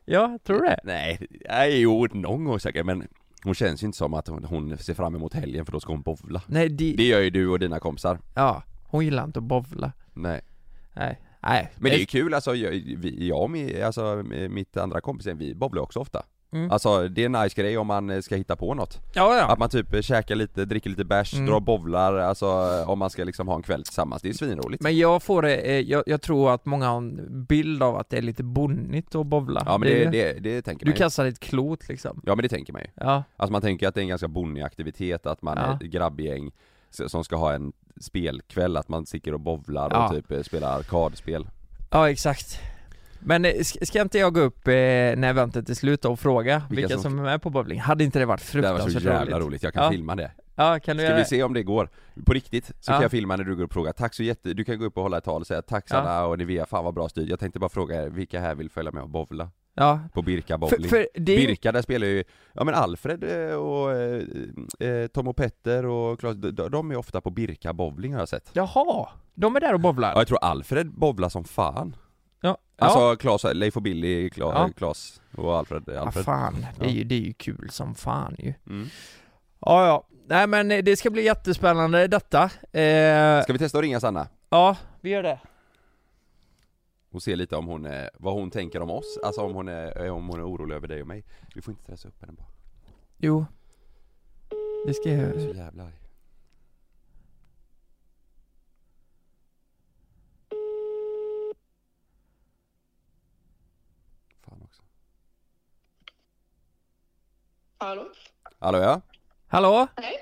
Speaker 2: ja, tror du det?
Speaker 1: Nej, nej jo någon gång säkert men Hon känns ju inte som att hon, hon ser fram emot helgen för då ska hon bowla
Speaker 2: Nej, det,
Speaker 1: Det gör ju du och dina kompisar
Speaker 2: ja, hon gillar inte att bovla.
Speaker 1: Nej
Speaker 2: Nej. Nej.
Speaker 1: Men det är ju kul alltså, jag, vi- jag och mi- alltså, mitt andra kompis, vi bowlar också ofta
Speaker 2: Mm.
Speaker 1: Alltså det är en nice grej om man eh, ska hitta på något
Speaker 2: Ja, ja.
Speaker 1: Att man typ eh, käkar lite, dricker lite bärs,
Speaker 2: Mm.
Speaker 1: drar och bowlar, alltså eh, om man ska liksom ha en kväll tillsammans, det är svinroligt
Speaker 2: Men jag får det, eh, jag, jag tror att många har en bild av att det är lite bonnigt att bovla.
Speaker 1: Ja men det,
Speaker 2: är-
Speaker 1: det, det tänker
Speaker 2: du
Speaker 1: man ju
Speaker 2: kastar ett klot liksom.
Speaker 1: Ja men det tänker man ju
Speaker 2: Ja.
Speaker 1: Alltså man tänker att det är en ganska bonnig aktivitet, att man
Speaker 2: Ja.
Speaker 1: är ett grabbgäng s- som ska ha en spelkväll, att man sticker och bowlar
Speaker 2: Ja.
Speaker 1: och typ eh, spelar arkadspel
Speaker 2: Ja, exakt. Men eh, ska, ska inte jag gå upp eh, när eventet är slut då och fråga vilka,
Speaker 1: Vilka
Speaker 2: som...
Speaker 1: som-
Speaker 2: är med på bowling? Hade inte det varit
Speaker 1: Det här var
Speaker 2: fruktansvärt
Speaker 1: så jävla roligt, jag kan
Speaker 2: Ja.
Speaker 1: filma det
Speaker 2: Ja, kan du
Speaker 1: Ska
Speaker 2: göra
Speaker 1: vi
Speaker 2: det?
Speaker 1: se om det går? På riktigt, så
Speaker 2: Ja.
Speaker 1: kan jag filma när du går upp och frågar Tack så jätte... Du kan gå upp och hålla ett tal och säga Tack Sanna och Nivea, fan vad bra stud Jag tänkte bara fråga er, vilka här vill följa med och bowla?
Speaker 2: Ja.
Speaker 1: På Birka
Speaker 2: För,
Speaker 1: bowling
Speaker 2: för det är ju-
Speaker 1: Birka, där spelar ju, ja men Alfred eh, och eh, eh, Tom och Petter och Claes, de, de är ofta på Birka bowling har jag sett
Speaker 2: Jaha! De är där och bowlar?
Speaker 1: Ja jag tror Alfred bowlar som fan
Speaker 2: Ja.
Speaker 1: Alltså Claes, Leif och Billy, Cla-
Speaker 2: Ja.
Speaker 1: Claes och Alfred,
Speaker 2: ja
Speaker 1: Alfred.
Speaker 2: fan. Det är,
Speaker 1: Ja.
Speaker 2: ju, det är ju kul som fan ju.
Speaker 1: Mm.
Speaker 2: Ja, ja. Nej men eh, det ska bli jättespännande detta. Eh,
Speaker 1: Ska vi testa att ringa Sanna?
Speaker 2: Ja, vi gör det.
Speaker 1: Och se lite om hon, eh, vad hon tänker om oss, alltså om hon är, eh, om hon är orolig över dig och mig Vi får inte stressa upp henne bara,
Speaker 2: Jo. Det ska jag
Speaker 1: jag är
Speaker 2: göra.
Speaker 1: så jävla arg Fan också
Speaker 4: Hallå?
Speaker 1: Hallå ja?
Speaker 2: Hallå?
Speaker 4: Hej?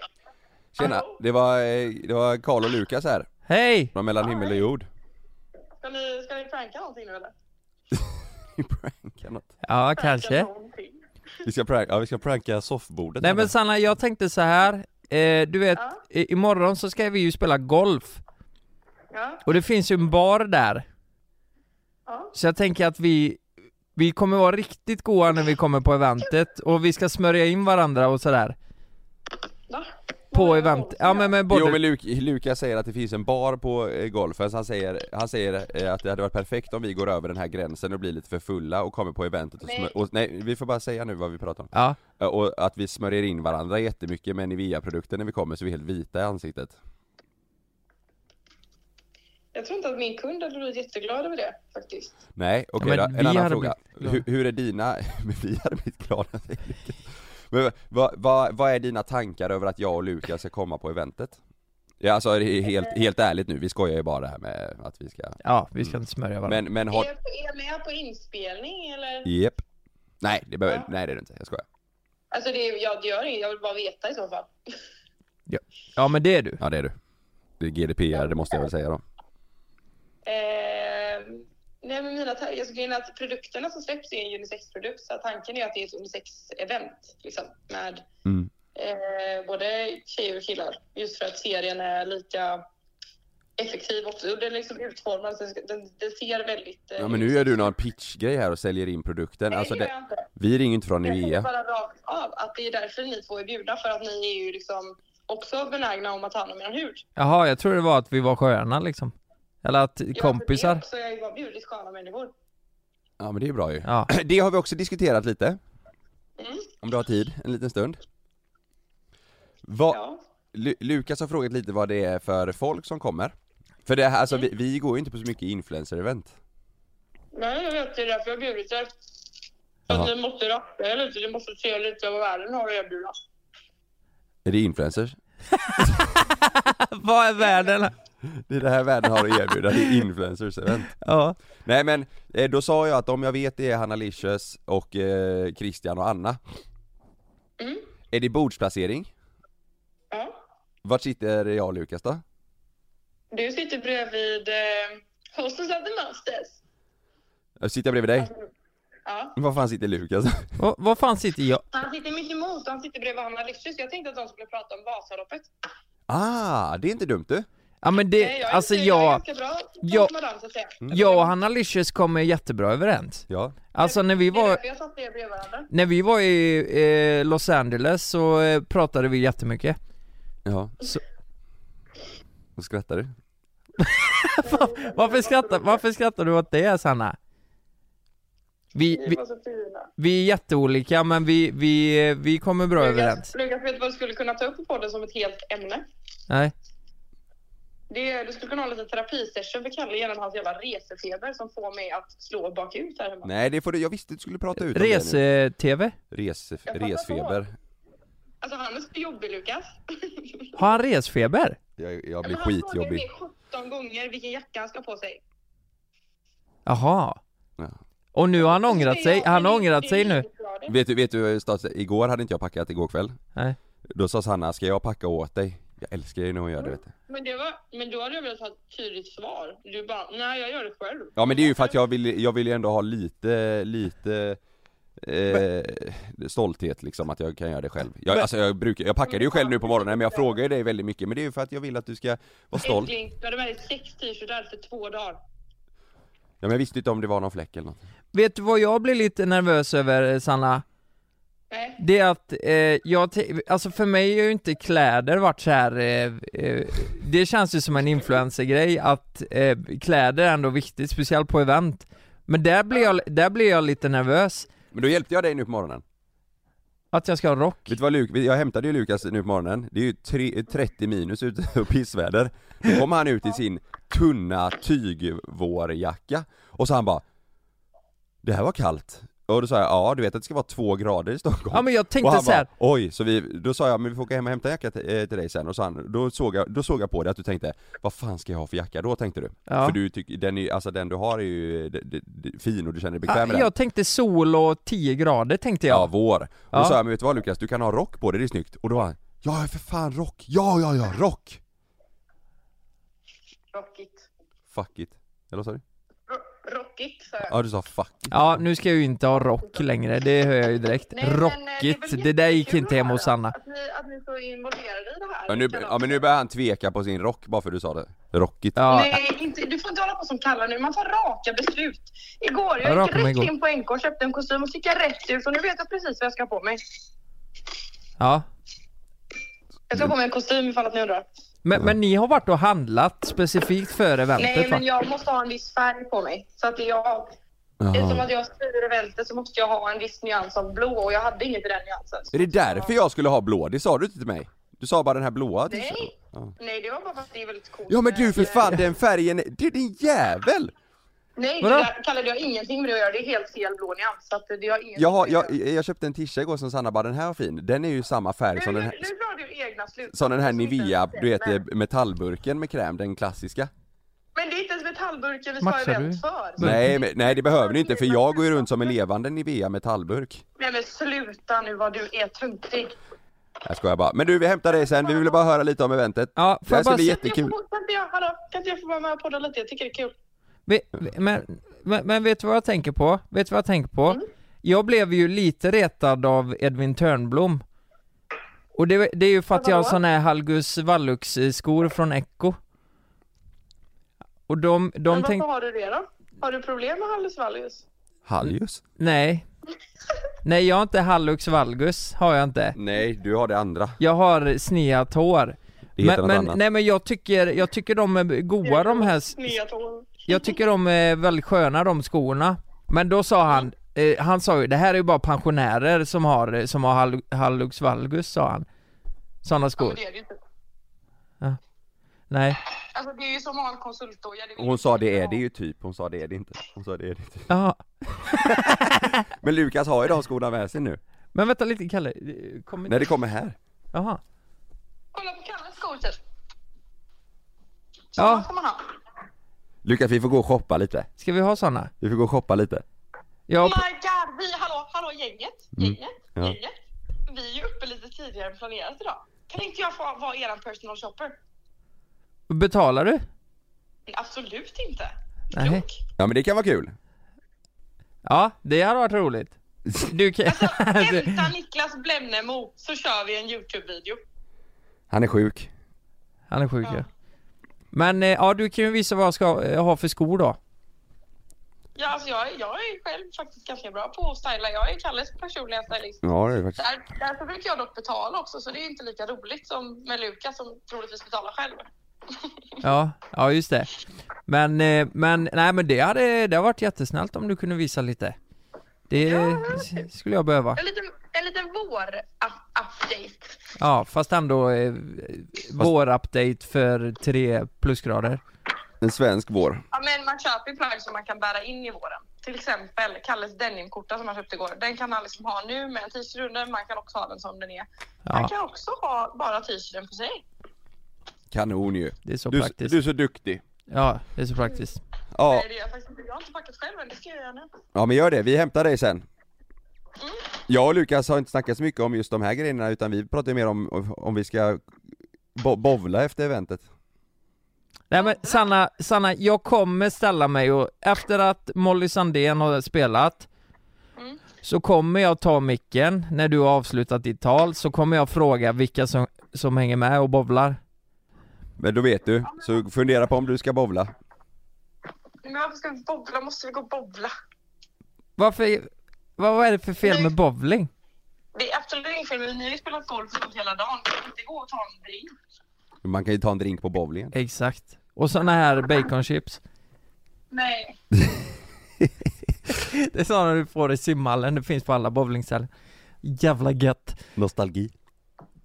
Speaker 1: Tjena,
Speaker 4: Hallå?
Speaker 1: det var, eh, det var Karl och Lukas här,
Speaker 2: Hej!
Speaker 1: från mellan himmel och jord
Speaker 4: Ska ni, ska ni pranka någonting nu eller?
Speaker 1: Vi prankar något
Speaker 2: Ja,
Speaker 4: Pranka
Speaker 2: kanske.
Speaker 4: någonting.
Speaker 1: Vi ska pranka, ja, vi ska pranka soffbordet
Speaker 2: Nej men Sanna, jag tänkte så här. Eh, du vet,
Speaker 4: Ja.
Speaker 2: i imorgon så ska vi ju spela golf.
Speaker 4: Ja,
Speaker 2: Och det finns ju en bar där.
Speaker 4: ja.
Speaker 2: Så jag tänker att vi, vi kommer vara riktigt goa när vi kommer på eventet. Och vi ska smörja in varandra och sådär.
Speaker 4: Va?
Speaker 2: På
Speaker 4: Vad är det
Speaker 2: event.
Speaker 4: som
Speaker 2: Ja men med både...
Speaker 1: Jo men Luk Lukas säger att det finns en bar på eh, golfen, så han säger, han säger eh, att det hade varit perfekt om vi går över den här gränsen och blir lite för fulla och kommer på eventet och, smör- och nej vi får bara säga nu vad vi pratar om
Speaker 2: Ja.
Speaker 1: Eh, Och att vi smörjer in varandra jättemycket med Nivea-produkter när vi kommer så vi är helt vita i ansiktet
Speaker 4: Jag tror inte att min kund hade blivit jätteglad över det faktiskt.
Speaker 1: Nej, okej
Speaker 2: men
Speaker 1: då,
Speaker 2: vi
Speaker 1: en annan
Speaker 2: hade
Speaker 1: fråga.
Speaker 2: blivit glada.
Speaker 1: Hur, hur är dina, men vi hade blivit glada säger Lukas. Men vad, vad, vad är dina tankar över att jag och Lukas ska komma på eventet? Ja alltså det är helt, helt ärligt nu, vi skojar ju bara det här med att vi ska
Speaker 2: Ja, vi ska inte smörja varandra.
Speaker 1: Men, men
Speaker 4: Är
Speaker 1: har,
Speaker 4: jag, är jag med på inspelning eller?
Speaker 1: Jep. Nej, det behöver,
Speaker 4: Ja.
Speaker 1: nej det är det inte, jag skojar.
Speaker 4: Alltså det, jag det gör inget, jag vill bara veta i så fall.
Speaker 2: Ja men det är du.
Speaker 1: Ja det är du. Det är GDPR, det måste jag väl säga då.
Speaker 4: Ehm, nej men mina ta- jag skulle gilla att produkterna som släpps är en unisex-produkt så tanken är att det är ett unisex-event liksom med
Speaker 1: Mm.
Speaker 4: eh, både tjejer och killar. Just för att serien är lika effektiv också. Den är liksom utformad så den ska- den, den ser väldigt... eh,
Speaker 1: Ja men nu gör du någon pitchgrej här och säljer in produkten,
Speaker 4: Nej,
Speaker 1: alltså
Speaker 4: det gör
Speaker 1: det,
Speaker 4: jag inte.
Speaker 1: vi ringer inte från
Speaker 4: Jag säger
Speaker 1: Nivea.
Speaker 4: bara rakt av att det är därför ni två är bjudna för att ni är ju liksom också benägna om att ta hand om er hud.
Speaker 2: Jaha, jag tror det var att vi var sköna liksom. Eller att
Speaker 4: Ja, för
Speaker 2: kompisar.
Speaker 4: det också, Jag har ju bara bjudit sköna människor.
Speaker 1: Ja men det är bra ju.
Speaker 2: Ja.
Speaker 1: Det har vi också diskuterat lite,
Speaker 4: Mm,
Speaker 1: om du har tid, en liten stund. Vad,
Speaker 4: ja.
Speaker 1: Lu- Lukas har frågat lite vad det är för folk som kommer. För det här, alltså
Speaker 4: Mm.
Speaker 1: vi, vi går ju inte på så mycket influencer-event.
Speaker 4: Nej, jag vet. Det är därför jag har bjudit er.
Speaker 1: Jaha.
Speaker 4: Att ni måste rappa er lite. Ni måste se lite vad världen har att erbjuda.
Speaker 1: Är det influencers?
Speaker 2: Vad är världen?
Speaker 1: Det är det här världen har att erbjuda, det är influencers event
Speaker 2: Ja,
Speaker 1: Nej men, eh, då sa jag att om jag vet det är Hanna Licious och eh, Christian och Anna
Speaker 4: Mm.
Speaker 1: Är det bordsplacering?
Speaker 4: Ja.
Speaker 1: Vart sitter jag och Lukas då?
Speaker 4: Du sitter bredvid eh, Hostess of the Masters.
Speaker 1: Jag Eh, sitter bredvid dig?
Speaker 4: Ja.
Speaker 1: Var fan sitter Lukas?
Speaker 2: och, var fan sitter jag?
Speaker 4: Han sitter mitt emot han sitter bredvid Hanna Lyxus. Jag tänkte att de skulle prata om Vasaloppet.
Speaker 1: Ah, det är inte dumt du!
Speaker 2: Ja men
Speaker 4: Nej,
Speaker 2: det,
Speaker 4: jag är-
Speaker 2: alltså
Speaker 4: jag är
Speaker 2: jag,
Speaker 4: ganska bra
Speaker 2: jag-
Speaker 4: jag, med dem, så att säga.
Speaker 2: jag och Hanna Licious kommer jättebra överens
Speaker 1: Ja,
Speaker 2: Alltså när vi
Speaker 4: Det är
Speaker 2: var,
Speaker 4: därför jag satt bredvid varandra.
Speaker 2: när vi var i eh, Los Angeles så eh, pratade vi jättemycket
Speaker 1: ja
Speaker 2: Så-
Speaker 1: Då skrattar du?
Speaker 2: Varför skrattar, varför skrattar du åt det Sanna? Vi,
Speaker 4: Ni
Speaker 2: vi,
Speaker 4: var så fina.
Speaker 2: vi är jätteolika men vi, vi, eh, vi kommer bra överens
Speaker 4: Lukas, Lukas, vet du vad du skulle kunna ta upp på podden som ett helt ämne?
Speaker 2: Nej,
Speaker 4: Det, är- du skulle kunna ha lite terapisession för Kalle genom hans jävla resefeber som får mig att slå bakut här hemma.
Speaker 1: Nej det får du, jag visste att du skulle prata ut om det
Speaker 2: rese-tv?
Speaker 1: nu. Res,
Speaker 4: Jag fattar
Speaker 1: Resfeber
Speaker 4: Alltså han är så jobbig Lukas.
Speaker 2: Har han resfeber?
Speaker 1: jag, jag
Speaker 4: Men
Speaker 1: blir
Speaker 4: han frågar
Speaker 1: skitjobbig
Speaker 4: mig 17 gånger vilken jacka han ska ha på sig.
Speaker 2: Jaha
Speaker 1: Ja.
Speaker 2: Och nu har han
Speaker 4: Så
Speaker 2: ångrat
Speaker 4: säger
Speaker 2: sig,
Speaker 4: jag,
Speaker 2: han har
Speaker 4: "Men
Speaker 2: ångrat
Speaker 4: det är
Speaker 2: sig nu
Speaker 4: livsfarligt."
Speaker 1: Vet du, vet du Stas, igår hade inte jag packat igår kväll
Speaker 2: Nej.
Speaker 1: Då sa Sanna, ska jag packa åt dig? Jag älskar ju när hon gör det vet du.
Speaker 4: Men, det var, men då hade jag velat ha ett tydligt svar. Du bara, nej jag gör det själv.
Speaker 1: Ja men det är ju för att jag vill, jag vill ju ändå ha lite, lite Eh, stolthet liksom att jag kan göra det själv. Jag, alltså jag brukar, jag packade ju själv nu på morgonen men jag frågar ju dig väldigt mycket men det är ju för att jag vill att du ska vara stolt.
Speaker 4: Äckling, du hade med dig sex t-shirtar för två dagar.
Speaker 1: Ja men jag visste inte om det var någon fläck eller något.
Speaker 2: Vet du vad jag blir lite nervös över eh, Sanna?
Speaker 4: Nej.
Speaker 2: Det är att, eh, jag, te- alltså för mig har ju inte kläder varit så här. Eh, eh, det känns ju som en influencer-grej att eh, kläder är ändå viktigt, speciellt på event. Men där blir, jag, där blir jag lite nervös,
Speaker 1: Men då hjälpte jag dig nu på morgonen.
Speaker 2: att jag ska ha rock.
Speaker 1: Vet du vad Luk, jag hämtade ju Lukas nu på morgonen, det är ju tre, 30 minus ute och pissväder. Då kom han ut i sin tunna tygvårjacka och så han bara Det här var kallt. Och då sa jag ja, du vet att det ska vara två grader i Stockholm.
Speaker 2: Ja men jag
Speaker 1: och
Speaker 2: tänkte
Speaker 1: han
Speaker 2: så här.
Speaker 1: Bara, Oj, så vi, då sa jag men vi får åka hem och hämta en jacka till, eh, till dig sen och så han, då, såg jag, då såg jag på dig att du tänkte Vad fan ska jag ha för jacka då tänkte du?
Speaker 2: Ja.
Speaker 1: För du tycker, den, är, alltså, den du har är ju d- d- d- fin och du känner dig
Speaker 2: ah,
Speaker 1: bekväm med den
Speaker 2: jag tänkte sol och 10 grader tänkte
Speaker 1: Ja,
Speaker 2: jag.
Speaker 1: vår. Och
Speaker 2: Ja.
Speaker 1: då sa jag, men vet du vad Lukas, du kan ha rock på dig, det är snyggt. Och då var han, ja för fan rock, ja ja ja rock!
Speaker 4: Rockigt.
Speaker 1: Fuck it. Eller vad sa du?
Speaker 4: Ro- Rockigt sa jag.
Speaker 1: Ja du sa fuck it.
Speaker 2: Ja, nu ska jag ju inte ha rock längre, det hör jag ju direkt.
Speaker 4: Nej, men, eh,
Speaker 2: Rockigt,
Speaker 4: är väl
Speaker 2: det där gick
Speaker 4: jättekul
Speaker 2: inte hem
Speaker 4: att
Speaker 2: hos
Speaker 4: höra
Speaker 2: Sanna.
Speaker 4: Att ni, att ni är så involverade i det här.
Speaker 1: Ja, nu,
Speaker 4: Kalas.
Speaker 1: ja men nu börjar han tveka på sin rock bara för du sa det. Rockigt.
Speaker 2: Ja,
Speaker 4: Nej, inte, du får inte hålla på som Kalle nu. Man tar raka beslut. Igår,
Speaker 2: Ja,
Speaker 4: jag gick
Speaker 2: raka mig
Speaker 4: rätt
Speaker 2: igår.
Speaker 4: in på NK och köpte en kostym och så gick jag rätt ut och nu vet jag precis vad jag ska ha på mig.
Speaker 2: ja.
Speaker 4: Jag ska ha på mig en kostym ifall att ni undrar.
Speaker 2: Men, men ni har varit och handlat specifikt för eventet
Speaker 4: Nej,
Speaker 2: va?
Speaker 4: men jag måste ha en viss färg på mig. Så att jag, eftersom
Speaker 1: Jaha.
Speaker 4: att jag styr eventet så måste jag ha en viss nyans av blå och jag hade inget i den nyansen.
Speaker 1: Är det därför jag skulle ha blå? Det sa du inte till mig. Du sa bara den här blåa. till-
Speaker 4: Nej.
Speaker 1: Ja.
Speaker 4: Nej, det var bara för att det är väldigt coolt.
Speaker 1: Ja men du för
Speaker 4: Eh,
Speaker 1: fan den färgen, är- du din jävel!
Speaker 4: Nej,
Speaker 2: Vadå?
Speaker 4: det- Kalle, det har ingenting med det att göra. Det är helt fel blå nyans. Så att det har ingenting
Speaker 1: Jag, har,
Speaker 4: med det att
Speaker 1: jag, jag köpte en t-shirt igår som Sanna bara, den här var fin. Den är ju samma färg som
Speaker 4: nu,
Speaker 1: den här,
Speaker 4: nu drar du egna slutsatser.
Speaker 1: som den här
Speaker 4: som inte ens
Speaker 1: Nivea, du vet
Speaker 4: stämmer.
Speaker 1: eh, metallburken med kräm, den klassiska.
Speaker 4: Men det är inte ens metallburken vi ska ha
Speaker 2: Matchar
Speaker 4: event
Speaker 2: du?
Speaker 4: för.
Speaker 1: Nej, men, nej det behöver ni inte för jag går ju runt som en levande Nivea metallburk.
Speaker 4: Nej men sluta nu vad du är töntig.
Speaker 1: Jag skojar bara. Men du vi hämtar dig sen, vi ville bara höra lite om eventet.
Speaker 2: Ja,
Speaker 1: det
Speaker 2: får
Speaker 1: här
Speaker 2: jag
Speaker 1: ska
Speaker 2: bara
Speaker 1: bli
Speaker 2: se-
Speaker 1: jättekul.
Speaker 4: Kan inte jag få- kan inte jag, hallå, kan inte jag få vara med och podda lite? Jag tycker det är kul.
Speaker 2: Vi- vi- Men, men, men vet du vad jag tänker på? Vet du vad jag tänker på?
Speaker 4: Mm.
Speaker 2: Jag blev ju lite retad av Edvin Törnblom. Och det, det är ju för att jag har
Speaker 4: Vadå?
Speaker 2: såna här Halgus Wallux-skor från Echo. Och de,
Speaker 4: Men
Speaker 2: de
Speaker 4: varför
Speaker 2: tänkte...
Speaker 4: har du det då? Har du problem med Hallis Vallius?
Speaker 1: Hallius?
Speaker 2: Nej. Nej, jag har inte Hallux Valgus, har jag inte.
Speaker 1: Nej, du har det andra.
Speaker 2: Jag har sneat hår.
Speaker 1: Det heter
Speaker 2: Men,
Speaker 1: något
Speaker 2: men,
Speaker 1: annat.
Speaker 2: nej men jag tycker, jag tycker de är goa de här s-
Speaker 4: Nya tår.
Speaker 2: Jag tycker de är väldigt sköna de skorna Men då sa han, eh, han sa ju det här är ju bara pensionärer som har, som har hal- hallux valgus sa han Sådana
Speaker 4: Ja, men
Speaker 2: skor,
Speaker 4: det är det ju inte.
Speaker 2: nej
Speaker 4: Alltså det är ju som att ha en konsultdoja. det vill
Speaker 1: Hon
Speaker 4: inte
Speaker 1: sa
Speaker 4: jag
Speaker 1: det är
Speaker 4: ha.
Speaker 1: det ju typ, hon sa det är det inte. Hon sa det är det inte.
Speaker 2: Jaha.
Speaker 1: Men Lukas har ju de skorna med sig nu.
Speaker 2: Men vänta lite Kalle, eh, kom inte,
Speaker 1: När det kommer här.
Speaker 2: jaha
Speaker 4: Kolla på Kalles skor typ.
Speaker 2: Ja.
Speaker 4: Sådana får man ha.
Speaker 1: Lukas vi får gå och shoppa lite.
Speaker 2: Ska vi ha såna?
Speaker 1: Vi får gå och shoppa lite.
Speaker 2: Ja,
Speaker 4: Oh
Speaker 2: Mm.
Speaker 4: My God, vi, hallå, hallå gänget, gänget,
Speaker 1: Ja.
Speaker 4: gänget. Vi är ju uppe lite tidigare än planerat idag. Kan inte jag få vara eran personal shopper?
Speaker 2: p- betalar du?
Speaker 4: Men Absolut inte.
Speaker 2: Nej.
Speaker 4: Klok.
Speaker 1: Ja men det kan vara kul.
Speaker 2: Ja, det hade varit roligt. Du kan...
Speaker 4: Hämta Alltså, Niklas Blemnemo så kör vi en Youtube-video.
Speaker 1: Han är sjuk.
Speaker 2: Han är sjuk
Speaker 4: Ja.
Speaker 2: ja. Men eh, ja, du kan ju visa vad jag ska eh, ha för skor då.
Speaker 4: Ja, alltså jag, är- jag är själv faktiskt ganska bra på att styla. Jag är Kalles personliga stylist.
Speaker 1: Ja det är faktiskt.
Speaker 4: Där, därför brukar jag dock betala också, så det är inte lika roligt som med Lukas som troligtvis betalar själv.
Speaker 2: Ja, ja just det. Men, eh, men nej men det hade, det hade varit jättesnällt om du kunde visa lite. Det s- skulle jag behöva.
Speaker 4: En liten, en liten vår-update.
Speaker 2: Ja, fast ändå eh, vår update för tre plusgrader.
Speaker 1: En svensk vår.
Speaker 4: Ja, men man köper ju plagg som man kan bära in i våren. Till exempel Kalles denimskjorta som han köpte igår. Den kan han liksom ha nu med en t-shirt under. Man kan också ha den som den är. Man
Speaker 2: Ja,
Speaker 4: kan också ha bara t-shirten på sig.
Speaker 1: Kanon ju.
Speaker 2: det är så
Speaker 1: Du,
Speaker 2: praktiskt.
Speaker 1: du är så duktig.
Speaker 2: Ja, det är så praktiskt.
Speaker 1: Ja,
Speaker 4: Nej, det är jag faktiskt inte. Jag har inte packat själv än. Det ska jag göra nu.
Speaker 1: ja men gör det, vi hämtar dig sen. Jag och Lukas har inte snackat så mycket om just de här grejerna utan vi pratar ju mer om om vi ska bo- bovla efter eventet.
Speaker 2: Nej men Sanna, Sanna, jag kommer ställa mig och efter att Molly Sandén har spelat så kommer jag ta micken när du har avslutat ditt tal så kommer jag fråga vilka som, som hänger med och bowlar.
Speaker 1: Men då vet du, så fundera på om du ska bovla.
Speaker 4: Men varför ska vi bobbla? Måste vi gå och bobbla?
Speaker 2: Varför, vad, vad är det för fel
Speaker 4: Nej.
Speaker 2: med bowling?
Speaker 4: Det är absolut ingen fel. men Ni har ju spelat golf och sånt hela dagen. Vi kan inte gå och ta en drink.
Speaker 1: Man kan ju ta en drink på bowlingen.
Speaker 2: Exakt. Och såna här baconchips.
Speaker 4: Nej.
Speaker 2: Det är såna du får i simhallen, det finns på alla bowlingställen. Jävla gött.
Speaker 1: Nostalgi.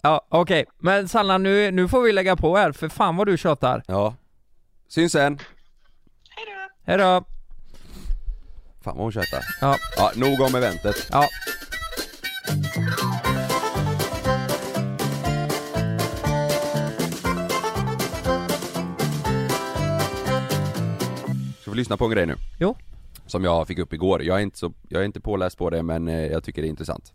Speaker 2: Ja okej, men Sanna nu, nu får vi lägga på här för fan vad du tjatar.
Speaker 1: Ja. Syns sen.
Speaker 4: Hej då!
Speaker 2: Hejdå!
Speaker 1: Fan vad hon tjötar.
Speaker 2: Ja,
Speaker 1: Ja, nog om eventet.
Speaker 2: ja.
Speaker 1: Ska vi lyssna på en grej nu?
Speaker 2: Jo.
Speaker 1: Som jag fick upp igår. Jag är inte, så, jag är inte påläst på det men eh, jag tycker det är intressant.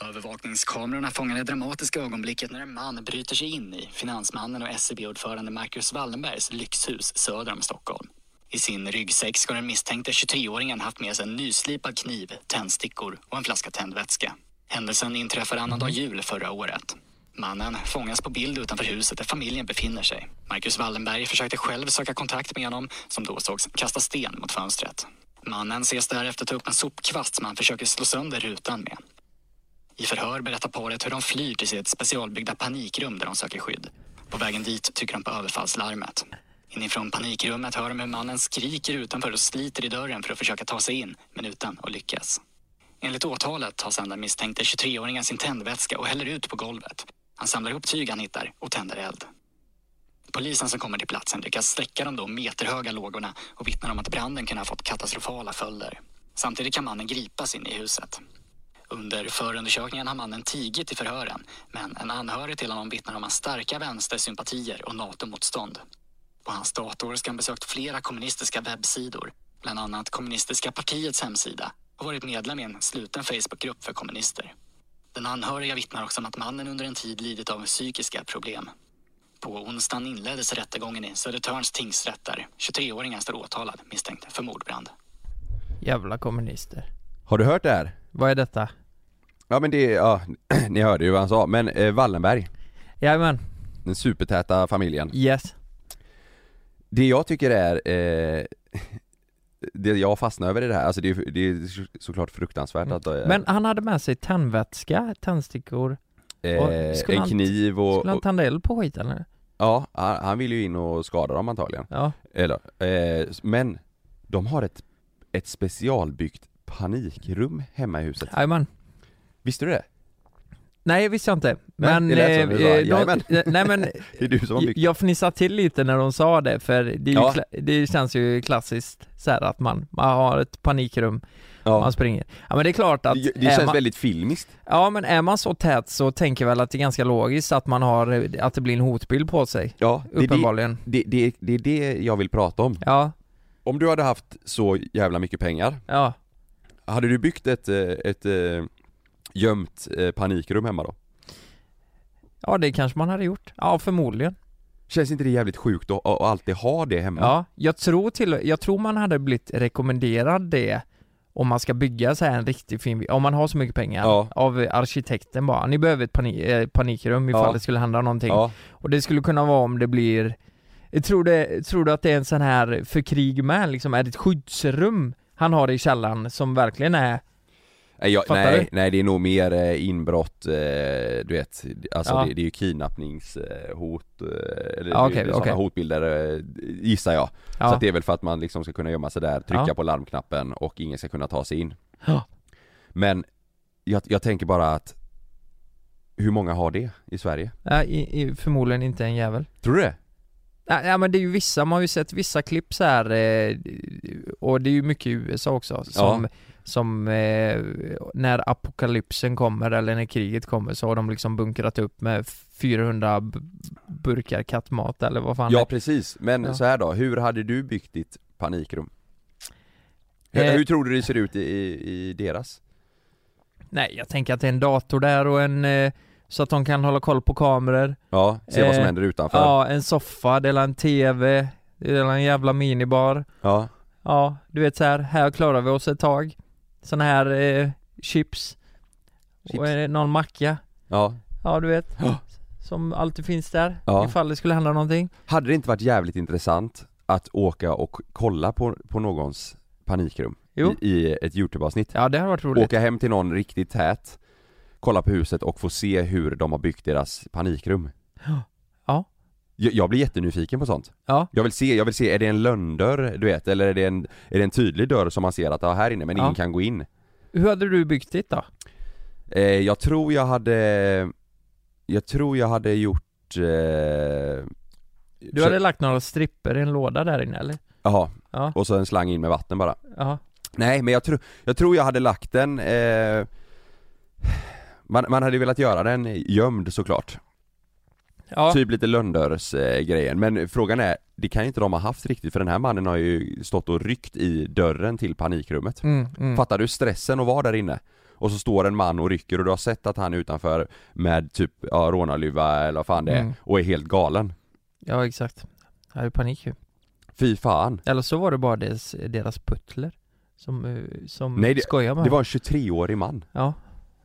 Speaker 5: Övervakningskamerorna fångar det dramatiska ögonblicket när en man bryter sig in i finansmannen och SEB-ordförande Marcus Wallenbergs lyxhus söder om Stockholm. I sin ryggsäck ska den misstänkte 23-åringen haft med sig en nyslipad kniv, tändstickor och en flaska tändvätska. Händelsen inträffar annandag jul förra året. Mannen fångas på bild utanför huset där familjen befinner sig. Marcus Wallenberg försökte själv söka kontakt med honom som då sågs kasta sten mot fönstret. Mannen ses därefter ta upp en sopkvast som han försöker slå sönder rutan med. I förhör berättar paret hur de flyr till sitt specialbyggda panikrum där de söker skydd. På vägen dit trycker de på överfallslarmet. Inifrån panikrummet hör de hur mannen skriker utanför och sliter i dörren för att försöka ta sig in, men utan att lyckas. Enligt åtalet tar sedan den misstänkte 23-åringen sin tändvätska och häller ut på golvet. Han samlar ihop tyg han hittar och tänder eld. Polisen som kommer till platsen lyckas släcka de då meterhöga lågorna och vittnar om att branden kan ha fått katastrofala följder. Samtidigt kan mannen gripas in i huset. Under förundersökningen har mannen tigit i förhören men en anhörig till honom vittnar om hans starka vänstersympatier och NATO-motstånd. På hans dator ska han besökt flera kommunistiska webbsidor, bland annat Kommunistiska partiets hemsida och varit medlem i en sluten Facebookgrupp för kommunister. Den anhöriga vittnar också om att mannen under en tid lidit av psykiska problem. På onsdagen inleddes rättegången i Södertörns tingsrätt där 23-åringen står åtalad misstänkt för mordbrand.
Speaker 2: Jävla kommunister.
Speaker 1: Har du hört det här?
Speaker 2: Vad är detta?
Speaker 1: Ja men det, ja, ni hörde ju vad han sa. Men eh, Wallenberg,
Speaker 2: Jajamän,
Speaker 1: den supertäta familjen.
Speaker 2: yes.
Speaker 1: Det jag tycker är, eh, det jag fastnar över i det här, alltså det, är ju- det är såklart fruktansvärt att... Eh,
Speaker 2: Mm. Men han hade med sig tändvätska, tändstickor. och
Speaker 1: eh,
Speaker 2: skulle
Speaker 1: en
Speaker 2: han-
Speaker 1: kniv och,
Speaker 2: Skulle han
Speaker 1: och
Speaker 2: tända eld på skiten eller?
Speaker 1: ja, han, han vill ju in och skada dem antagligen.
Speaker 2: Ja.
Speaker 1: Eller, eh, men de har ett, ett specialbyggt panikrum hemma i huset.
Speaker 2: Jajamän.
Speaker 1: Visste du det?
Speaker 2: Nej, visste jag inte.
Speaker 1: Nej,
Speaker 2: Men...
Speaker 1: det lät som
Speaker 2: eh,
Speaker 1: du sa,
Speaker 2: eh, de-
Speaker 1: jajamän.
Speaker 2: eh, nej men,
Speaker 1: Det är du som har mycket
Speaker 2: jag fnissade till lite när de sa det, för det, är ju
Speaker 1: Ja.
Speaker 2: kla- det känns ju klassiskt så här att man, man har ett panikrum, man springer. Ja men det är klart att...
Speaker 1: Det, det
Speaker 2: är
Speaker 1: känns
Speaker 2: man,
Speaker 1: väldigt filmiskt
Speaker 2: Ja men är man så tät så tänker jag väl att det är ganska logiskt att man har, att det blir en hotbild på sig.
Speaker 1: Ja, det, är det,
Speaker 2: Uppenbarligen.
Speaker 1: det, det, det är det jag vill prata om
Speaker 2: Ja,
Speaker 1: Om du hade haft så jävla mycket pengar
Speaker 2: ja.
Speaker 1: Hade du byggt ett, eh, ett eh, gömt eh, panikrum hemma då?
Speaker 2: Ja det kanske man hade gjort. Ja förmodligen.
Speaker 1: Mm. Känns inte det jävligt sjukt att, att alltid ha det hemma?
Speaker 2: Ja, jag tror till, jag tror man hade blivit rekommenderad det om man ska bygga så här en riktigt fin, om man har så mycket pengar
Speaker 1: Ja.
Speaker 2: av arkitekten bara, ni behöver ett pani, eh, panikrum ifall
Speaker 1: Ja.
Speaker 2: det skulle hända någonting.
Speaker 1: Ja,
Speaker 2: Och det skulle kunna vara om det blir, tror, det, tror du att det är en sån här för krig med liksom, är det ett skyddsrum han har i källaren som verkligen är,
Speaker 1: nej, jag,
Speaker 2: Fattar
Speaker 1: nej,
Speaker 2: du?
Speaker 1: nej det är nog mer eh, inbrott, eh, du vet, alltså
Speaker 2: Ja.
Speaker 1: det, det är ju kidnappningshot, eh, eller
Speaker 2: Ja,
Speaker 1: det är
Speaker 2: okej,
Speaker 1: ju sådana
Speaker 2: okej.
Speaker 1: hotbilder eh, gissar jag. Så
Speaker 2: ja,
Speaker 1: att det är väl för att man liksom ska kunna gömma sig där, trycka
Speaker 2: Ja.
Speaker 1: på larmknappen och ingen ska kunna ta sig in.
Speaker 2: Ja.
Speaker 1: Men jag, jag tänker bara att hur många har det i Sverige?
Speaker 2: ja, i, i, förmodligen inte en jävel.
Speaker 1: Tror du det?
Speaker 2: Ja, ja men det är ju vissa, man har ju sett vissa klipp så här eh, och det är ju mycket i USA också som, som eh, när apokalypsen kommer eller när kriget kommer så har de liksom bunkrat upp med 400 b- burkar kattmat eller vad fan
Speaker 1: Ja
Speaker 2: det
Speaker 1: precis, men
Speaker 2: Ja.
Speaker 1: så här då, hur hade du byggt ditt panikrum? Hur,
Speaker 2: Eh.
Speaker 1: hur tror du det ser ut i, i, i deras?
Speaker 2: Nej jag tänker att det är en dator där och en eh, så att de kan hålla koll på kameror
Speaker 1: Ja, se vad som
Speaker 2: Eh,
Speaker 1: händer utanför. Ja.
Speaker 2: Ja, en soffa, det är en TV, det är en jävla minibar
Speaker 1: Ja.
Speaker 2: Ja, du vet så här, här klarar vi oss ett tag Såna här eh, chips.
Speaker 1: Chips.
Speaker 2: Och eh, någon macka
Speaker 1: ja.
Speaker 2: Ja du vet
Speaker 1: Ja.
Speaker 2: Som alltid finns där
Speaker 1: Ja.
Speaker 2: Ifall det skulle hända någonting
Speaker 1: Hade det inte varit jävligt intressant att åka och kolla på, på någons panikrum?
Speaker 2: Jo.
Speaker 1: I, I ett YouTube-avsnitt?
Speaker 2: Ja det hade varit roligt
Speaker 1: Åka hem till någon riktigt tät, kolla på huset och få se hur de har byggt deras panikrum.
Speaker 2: Ja.
Speaker 1: Jag, jag blir jättenyfiken på sånt.
Speaker 2: Ja.
Speaker 1: Jag vill se, jag vill se, är det en lönndörr du vet, eller är det en, är det en tydlig dörr som man ser att ja, här inne, men
Speaker 2: Ja.
Speaker 1: ingen kan gå in?
Speaker 2: Hur hade du byggt ditt då?
Speaker 1: Eh, jag tror jag hade, jag tror jag hade gjort... Eh,
Speaker 2: Du hade lagt några stripper i en låda där inne eller?
Speaker 1: Jaha,
Speaker 2: Ja,
Speaker 1: och så en slang in med vatten bara.
Speaker 2: ja,
Speaker 1: Nej men jag, tror, jag tror jag hade lagt den, eh, man, man hade ju velat göra den gömd såklart.
Speaker 2: ja.
Speaker 1: Typ lite Lönners eh, grejen, men frågan är, det kan ju inte de ha haft riktigt för den här mannen har ju stått och ryckt i dörren till panikrummet.
Speaker 2: Mm, mm.
Speaker 1: Fattar du stressen att vara där inne? Och så står en man och rycker och du har sett att han är utanför med typ ja, rånarluva eller vad fan det är
Speaker 2: Mm.
Speaker 1: och är helt galen.
Speaker 2: ja exakt Jag hade panik ju
Speaker 1: Fy fan.
Speaker 2: Eller så var det bara deras, deras puttler Som, eh, som
Speaker 1: Nej, det-
Speaker 2: skojar med
Speaker 1: Det
Speaker 2: honom.
Speaker 1: var en 23-årig man.
Speaker 2: Ja,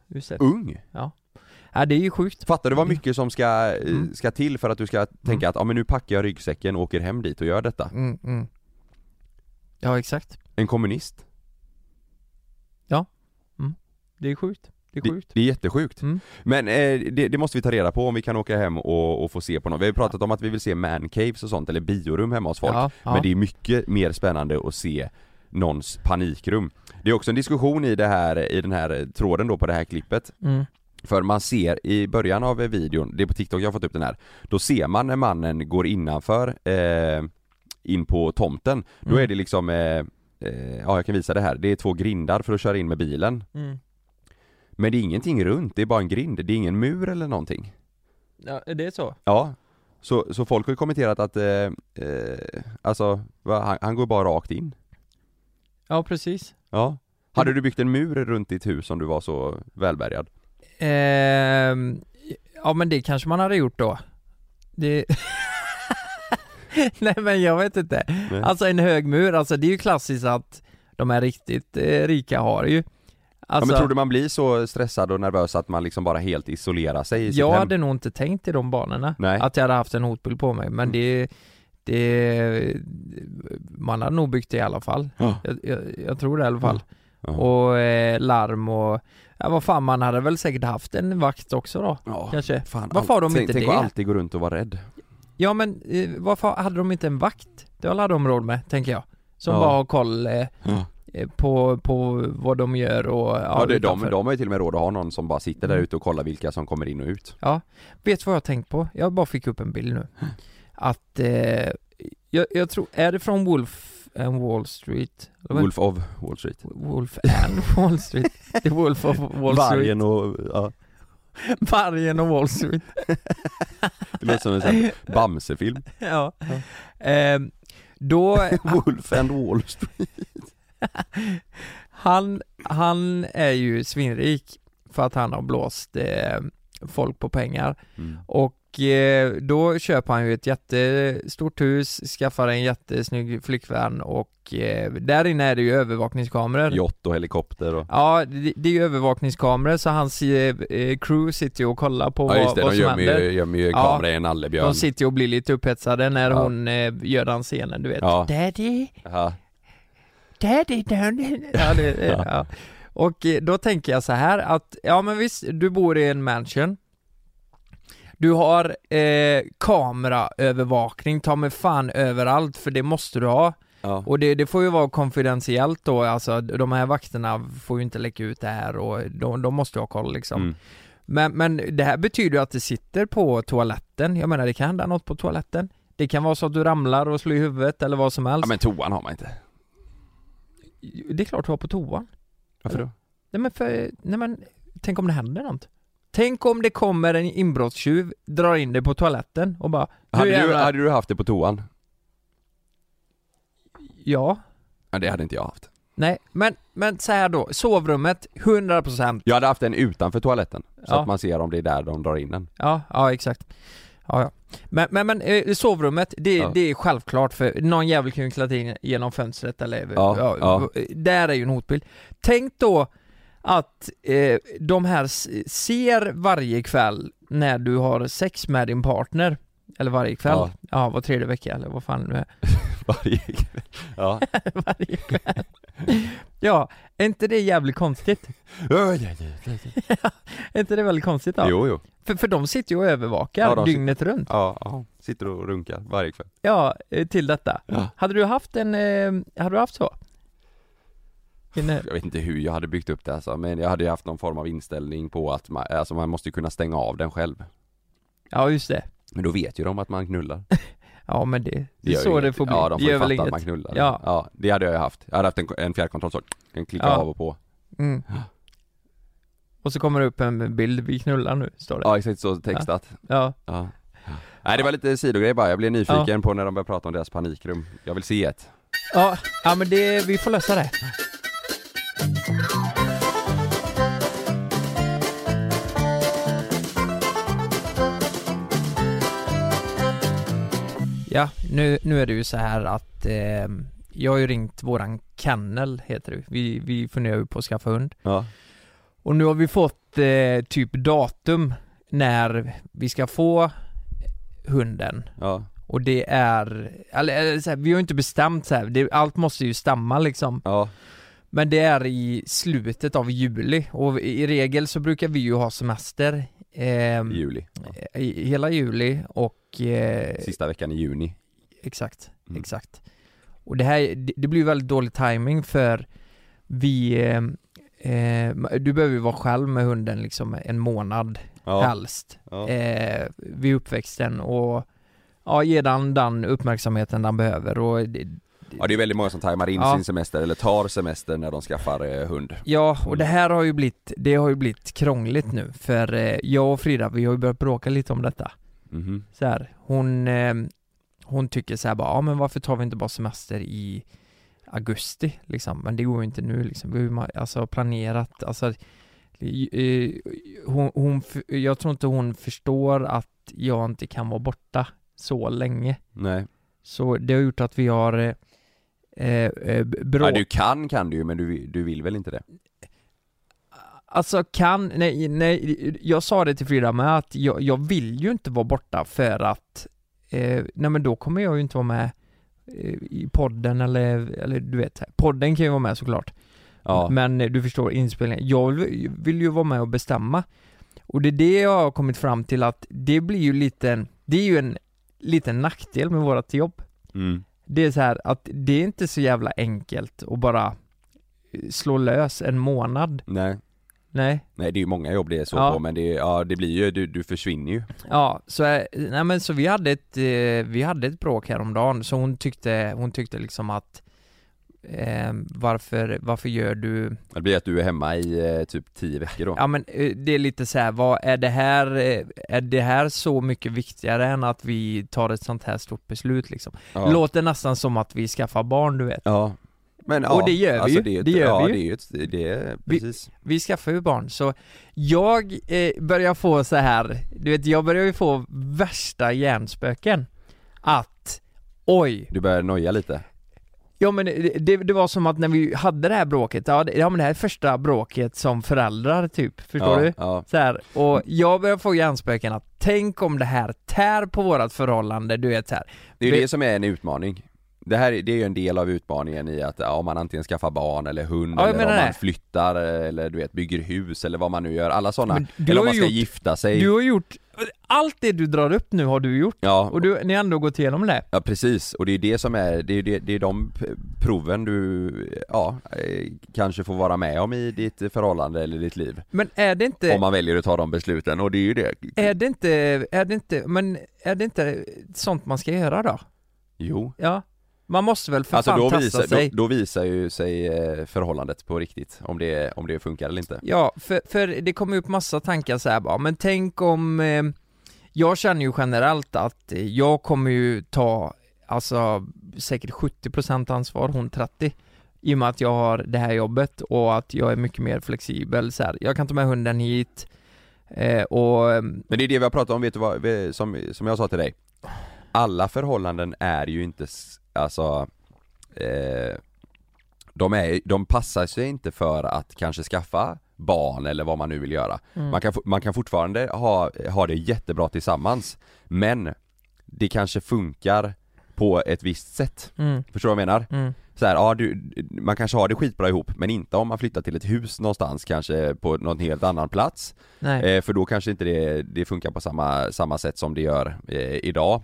Speaker 2: just det
Speaker 1: Ung!
Speaker 2: Ja det är ju sjukt
Speaker 1: Fattar du vad mycket som ska, eh,
Speaker 2: Mm.
Speaker 1: ska till för att du ska tänka att ja, men nu packar jag ryggsäcken och åker hem dit och gör detta.
Speaker 2: mm, mm. Ja exakt,
Speaker 1: En kommunist.
Speaker 2: det är sjukt, det är
Speaker 1: Det,
Speaker 2: sjukt
Speaker 1: det är jättesjukt.
Speaker 2: Mm.
Speaker 1: Men eh, det, det måste vi ta reda på om vi kan åka hem och, och få se på något. Vi har ju pratat om att vi vill se mancaves och sånt eller biorum hemma hos folk.
Speaker 2: ja, ja.
Speaker 1: Men det är mycket mer spännande att se någons panikrum. Det är också en diskussion i det här, i den här tråden då på det här klippet.
Speaker 2: mm.
Speaker 1: För man ser i början av videon, det är på TikTok jag har fått upp den här, då ser man när mannen går innanför, eh, in på tomten. Då
Speaker 2: Mm.
Speaker 1: är det liksom, eh, eh, ja jag kan visa det här, det är två grindar för att köra in med bilen.
Speaker 2: Mm.
Speaker 1: Men det är ingenting runt, det är bara en grind, det är ingen mur eller någonting.
Speaker 2: Ja, det är så?
Speaker 1: Ja, så, så folk har ju kommenterat att, eh, eh, alltså, va, han, han går bara rakt in.
Speaker 2: Ja precis
Speaker 1: Ja. Hade du byggt en mur runt ditt hus om du var så välbärgad?
Speaker 2: Ehm, ja men det kanske man hade gjort då. Det... Nej men jag vet inte.
Speaker 1: Nej.
Speaker 2: Alltså en hög mur, alltså det är ju klassiskt att de här riktigt eh, rika har ju.
Speaker 1: ja,
Speaker 2: Alltså,
Speaker 1: men tror du man blir så stressad och nervös att man liksom bara helt isolerar sig i sitt
Speaker 2: jag
Speaker 1: hem?
Speaker 2: hade nog inte tänkt i de banorna.
Speaker 1: Nej. Mm.
Speaker 2: Att jag hade haft en hotbild på mig, men det, det... Man hade nog byggt det i alla fall.
Speaker 1: Ja.
Speaker 2: Jag, jag, jag tror det i alla fall.
Speaker 1: Ja.
Speaker 2: Och eh, larm och... Ja, vad fan, man hade väl säkert haft en vakt också då.
Speaker 1: Ja.
Speaker 2: Kanske.
Speaker 1: Fan,
Speaker 2: Varför har de
Speaker 1: tänk,
Speaker 2: inte
Speaker 1: tänk
Speaker 2: det?
Speaker 1: att alltid gå runt och vara rädd.
Speaker 2: Ja men eh, varför hade de inte en vakt? Det hade de råd med, tänker jag. Som
Speaker 1: Ja.
Speaker 2: bara har koll eh,
Speaker 1: Ja.
Speaker 2: eh, på, på vad de gör och
Speaker 1: Ja, det, de,
Speaker 2: utanför.
Speaker 1: de har ju till och med råd att ha någon som bara sitter där
Speaker 2: Mm.
Speaker 1: ute och kollar vilka som kommer in och ut.
Speaker 2: Vet du vad jag har tänkt på? Jag bara fick upp en bild nu.
Speaker 1: Hm.
Speaker 2: Att, eh, jag, jag tror, är det från Wolf and Wall Street? Eller vad-
Speaker 1: Wolf of Wall Street.
Speaker 2: Wolf and Wall Street? Det är Wolf of Wall Street.
Speaker 1: Vargen och, ja,
Speaker 2: Vargen och Wall Street.
Speaker 1: det låter som en sån här Bamse-film.
Speaker 2: Ja. Ehm, då,
Speaker 1: Wolf and Wall Street.
Speaker 2: han, han är ju svinrik för att han har blåst eh, folk på pengar.
Speaker 1: Mm.
Speaker 2: Och eh, då köper han ju ett jättestort hus, skaffar en jättesnygg flickvän och eh, där inne är det ju övervakningskameror.
Speaker 1: Jott och helikopter och...
Speaker 2: Ja, det, det är ju övervakningskameror så hans eh, eh, crew sitter ju och kollar på
Speaker 1: Ja just
Speaker 2: vad,
Speaker 1: det,
Speaker 2: vad
Speaker 1: de
Speaker 2: som
Speaker 1: eh, gömmer
Speaker 2: händer.
Speaker 1: ju, gömmer ju
Speaker 2: Ja.
Speaker 1: kamera i en nallebjörn.
Speaker 2: De sitter ju och blir lite upphetsade när
Speaker 1: Ja.
Speaker 2: hon eh, gör den scenen, du vet.
Speaker 1: Ja.
Speaker 2: Daddy,
Speaker 1: Ja.
Speaker 2: daddy, daddy. Ja, det,
Speaker 1: Ja.
Speaker 2: ja. Och eh, då tänker jag så här att, ja men visst, du bor i en mansion. Du har eh, kameraövervakning, ta mig fan överallt, för det måste du ha.
Speaker 1: Ja.
Speaker 2: Och det, det får ju vara konfidentiellt då, alltså de här vakterna får ju inte läcka ut det här och de, de måste ju ha koll liksom.
Speaker 1: Mm.
Speaker 2: Men, men det här betyder ju att det sitter på toaletten, jag menar det kan hända något på toaletten. Det kan vara så att du ramlar och slår i huvudet eller vad som
Speaker 1: ja
Speaker 2: helst.
Speaker 1: men toan har man inte.
Speaker 2: Det är klart du var på toan.
Speaker 1: Varför då?
Speaker 2: Nej men, för, nej men, tänk om det händer något. Tänk om det kommer en inbrottstjuv, drar in dig på toaletten och bara "Nu
Speaker 1: Hade du,
Speaker 2: jävlar."
Speaker 1: hade du haft det på toan?
Speaker 2: Ja,
Speaker 1: Ja, det hade inte jag haft.
Speaker 2: nej, men, men så här då, sovrummet, 100%
Speaker 1: Jag hade haft den utanför toaletten. Så
Speaker 2: Ja.
Speaker 1: att man ser om det är där de drar in den.
Speaker 2: Ja, ja exakt. Ja, ja. Men, men, men eh, sovrummet, det,
Speaker 1: Ja.
Speaker 2: det är självklart för någon jävel kan ju klatra in genom fönstret eller
Speaker 1: Ja, ja.
Speaker 2: Där är ju en hotbild. Tänk då att eh, de här s- ser varje kväll när du har sex med din partner, eller varje kväll,
Speaker 1: Ja.
Speaker 2: ja, var tredje vecka eller vad fan det nu är.
Speaker 1: Varje kväll. Ja.
Speaker 2: varje kväll. ja, är inte det jävligt konstigt? Är inte det väldigt konstigt då?
Speaker 1: Jo, jo.
Speaker 2: För, för de sitter ju och övervakar
Speaker 1: Ja, de
Speaker 2: dygnet runt.
Speaker 1: Ja, ja. Sitter och runkar varje kväll.
Speaker 2: Ja, eh, till detta.
Speaker 1: Ja.
Speaker 2: Hade du haft en, eh, hade du haft så? Inne,
Speaker 1: Jag vet inte hur jag hade byggt upp det alltså, men jag hade ju haft någon form av inställning på att man, alltså man måste ju kunna stänga av den själv.
Speaker 2: ja just det.
Speaker 1: Men då vet ju de att man knullar.
Speaker 2: Ja men det, det är
Speaker 1: gör
Speaker 2: så
Speaker 1: inget.
Speaker 2: det får bli.
Speaker 1: Ja, de får
Speaker 2: Det
Speaker 1: ju
Speaker 2: gör väl
Speaker 1: fatta att
Speaker 2: inget.
Speaker 1: man knullar. Ja.
Speaker 2: Ja.
Speaker 1: det hade jag ju haft. Jag hade haft en, en fjärrkontroll så, en klicka
Speaker 2: Ja.
Speaker 1: av och på.
Speaker 2: Mm. Och så kommer det upp en bild, vi knullar nu, står det.
Speaker 1: Ja, exakt så textat. Ja.
Speaker 2: Ja,
Speaker 1: Nej, det var lite sidogrej bara. Jag blev nyfiken på när de började prata om deras panikrum. Jag vill se ett.
Speaker 2: ja, ja men det, vi får lösa det. Ja, nu, nu är det ju så här att eh, jag har ju ringt våran kennel, heter det. Vi, vi funderar ju på att skaffa hund.
Speaker 1: Ja.
Speaker 2: Och nu har vi fått eh, typ datum när vi ska få hunden.
Speaker 1: Ja.
Speaker 2: Och det är, eller, eller så här, vi har ju inte bestämt så här. Det, allt måste ju stämma liksom.
Speaker 1: Ja.
Speaker 2: Men det är i slutet av juli och i i regel så brukar vi ju ha semester. ehm,
Speaker 1: I juli. Ja.
Speaker 2: i, hela juli och eh,
Speaker 1: Sista veckan i juni.
Speaker 2: Exakt,
Speaker 1: Mm.
Speaker 2: exakt. Och det här, det, det blir ju väldigt dålig timing för vi, eh, eh, du behöver ju vara själv med hunden liksom en månad
Speaker 1: Ja.
Speaker 2: helst
Speaker 1: Ja.
Speaker 2: eh, vid uppväxten och ja, ge den den uppmärksamheten den behöver och det,
Speaker 1: ja, det är väldigt många som tajmar in
Speaker 2: Ja.
Speaker 1: sin semester eller tar semester när de skaffar eh, hund.
Speaker 2: Ja, och det här har ju blivit, det har ju blivit krångligt nu för eh, jag och Frida, vi har ju börjat bråka lite om detta.
Speaker 1: Mhm.
Speaker 2: så här, hon, eh, hon tycker så här bara, ja men varför tar vi inte bara semester i augusti liksom, men det går ju inte nu liksom, vi har ju ma- alltså planerat, alltså eh, hon, hon, f- jag tror inte hon förstår att jag inte kan vara borta så länge.
Speaker 1: Nej.
Speaker 2: Så det har gjort att vi har eh, eh, eh,
Speaker 1: Ja,
Speaker 2: bråk.
Speaker 1: du kan kan du ju men du, du vill väl inte det?
Speaker 2: Alltså kan, nej, nej, jag sa det till Frida med att jag, jag vill ju inte vara borta för att, eh, nej men då kommer jag ju inte vara med eh, i podden eller, eller du vet, podden kan ju vara med såklart.
Speaker 1: Ja.
Speaker 2: Men eh, du förstår inspelningen, jag vill, vill ju vara med och bestämma. Och det är det jag har kommit fram till att det blir ju lite, det är ju en liten nackdel med vårat jobb.
Speaker 1: Mm.
Speaker 2: Det är så här att det är inte så jävla enkelt att bara eh, slå lös en månad.
Speaker 1: Nej.
Speaker 2: Nej.
Speaker 1: Nej det är ju många jobb det är så
Speaker 2: Ja.
Speaker 1: på men det, är- ja, det blir ju, du, du försvinner ju.
Speaker 2: Ja, så, eh, nej men så vi hade ett, eh, vi hade ett bråk häromdagen, så hon tyckte, hon tyckte liksom att eh, varför, varför gör du,
Speaker 1: Det blir att du är hemma i eh, typ 10 veckor då.
Speaker 2: ja men eh, det är lite så här, vad är det här, eh, är det här så mycket viktigare än att vi tar ett sånt här stort beslut liksom?
Speaker 1: Ja.
Speaker 2: Låter nästan som att vi skaffar barn du vet.
Speaker 1: Ja. Men ja,
Speaker 2: Och det gör vi ju.
Speaker 1: är ett-
Speaker 2: Det gör
Speaker 1: ja,
Speaker 2: vi ju.
Speaker 1: det är ju. Ett, det är,
Speaker 2: Vi-
Speaker 1: precis.
Speaker 2: Vi skaffar ju barn, så jag eh, börjar få så här, du vet jag börjar ju få värsta hjärnspöken. Att, oj,
Speaker 1: Du börjar noja lite.
Speaker 2: Ja men det, det- det var som att när vi hade det här bråket, ja, det, ja men det här är första bråket som föräldrar typ, förstår
Speaker 1: ja,
Speaker 2: du?
Speaker 1: Ja.
Speaker 2: Så här, och jag börjar få hjärnspöken att tänk om det här tär på vårat förhållande, du vet så här.
Speaker 1: Det är ju
Speaker 2: Vi-
Speaker 1: det som är en utmaning. Det här är- det är ju en del av utmaningen i att ja, om man antingen skaffar barn eller hund
Speaker 2: Ja, jag
Speaker 1: eller om
Speaker 2: menar
Speaker 1: man
Speaker 2: det.
Speaker 1: flyttar eller du vet bygger hus eller vad man nu gör. Alla sådana.
Speaker 2: Men du
Speaker 1: Eller
Speaker 2: har
Speaker 1: om man
Speaker 2: ju
Speaker 1: ska
Speaker 2: gjort-
Speaker 1: gifta sig.
Speaker 2: Du har gjort, allt det du drar upp nu har du gjort,
Speaker 1: Ja,
Speaker 2: och du, ni har ändå gått igenom det.
Speaker 1: Ja precis, och det är det som är, det är, det, det är de p- proven du, ja, eh, kanske får vara med om i ditt förhållande eller ditt liv.
Speaker 2: Men är det Eh, inte,
Speaker 1: Om man väljer att ta de besluten, och det är ju det.
Speaker 2: är det inte, är det inte, men är det inte sånt man ska göra då?
Speaker 1: Jo.
Speaker 2: Ja. Man måste väl för
Speaker 1: Alltså
Speaker 2: fan
Speaker 1: då
Speaker 2: testa
Speaker 1: visar,
Speaker 2: sig.
Speaker 1: då, då visar ju sig eh, förhållandet på riktigt, om det, om det funkar eller inte.
Speaker 2: Ja, för, för det kommer upp massa tankar så här bara, men tänk om eh, Jag känner ju generellt att eh, jag kommer ju ta Alltså säkert 70% ansvar, hon 30 I och med att jag har det här jobbet och att jag är mycket mer flexibel så här. Jag kan ta med hunden hit eh, och eh,
Speaker 1: Men det är det vi har pratat om, vet du vad, vi- som, som jag sa till dig. Alla förhållanden är ju inte, s- alltså, eh, de, är, de passar sig inte för att kanske skaffa barn eller vad man nu vill göra.
Speaker 2: Mm.
Speaker 1: Man, kan, fo- man kan fortfarande ha, ha det jättebra tillsammans, men det kanske funkar på ett visst sätt.
Speaker 2: mm,
Speaker 1: Förstår du vad jag menar?
Speaker 2: mm.
Speaker 1: Så här, ja, du, man kanske har det skitbra ihop, men inte om man flyttar till ett hus någonstans, kanske på någon helt annan plats.
Speaker 2: Nej.
Speaker 1: Eh, för då kanske inte det, det funkar på samma, samma sätt som det gör eh, idag.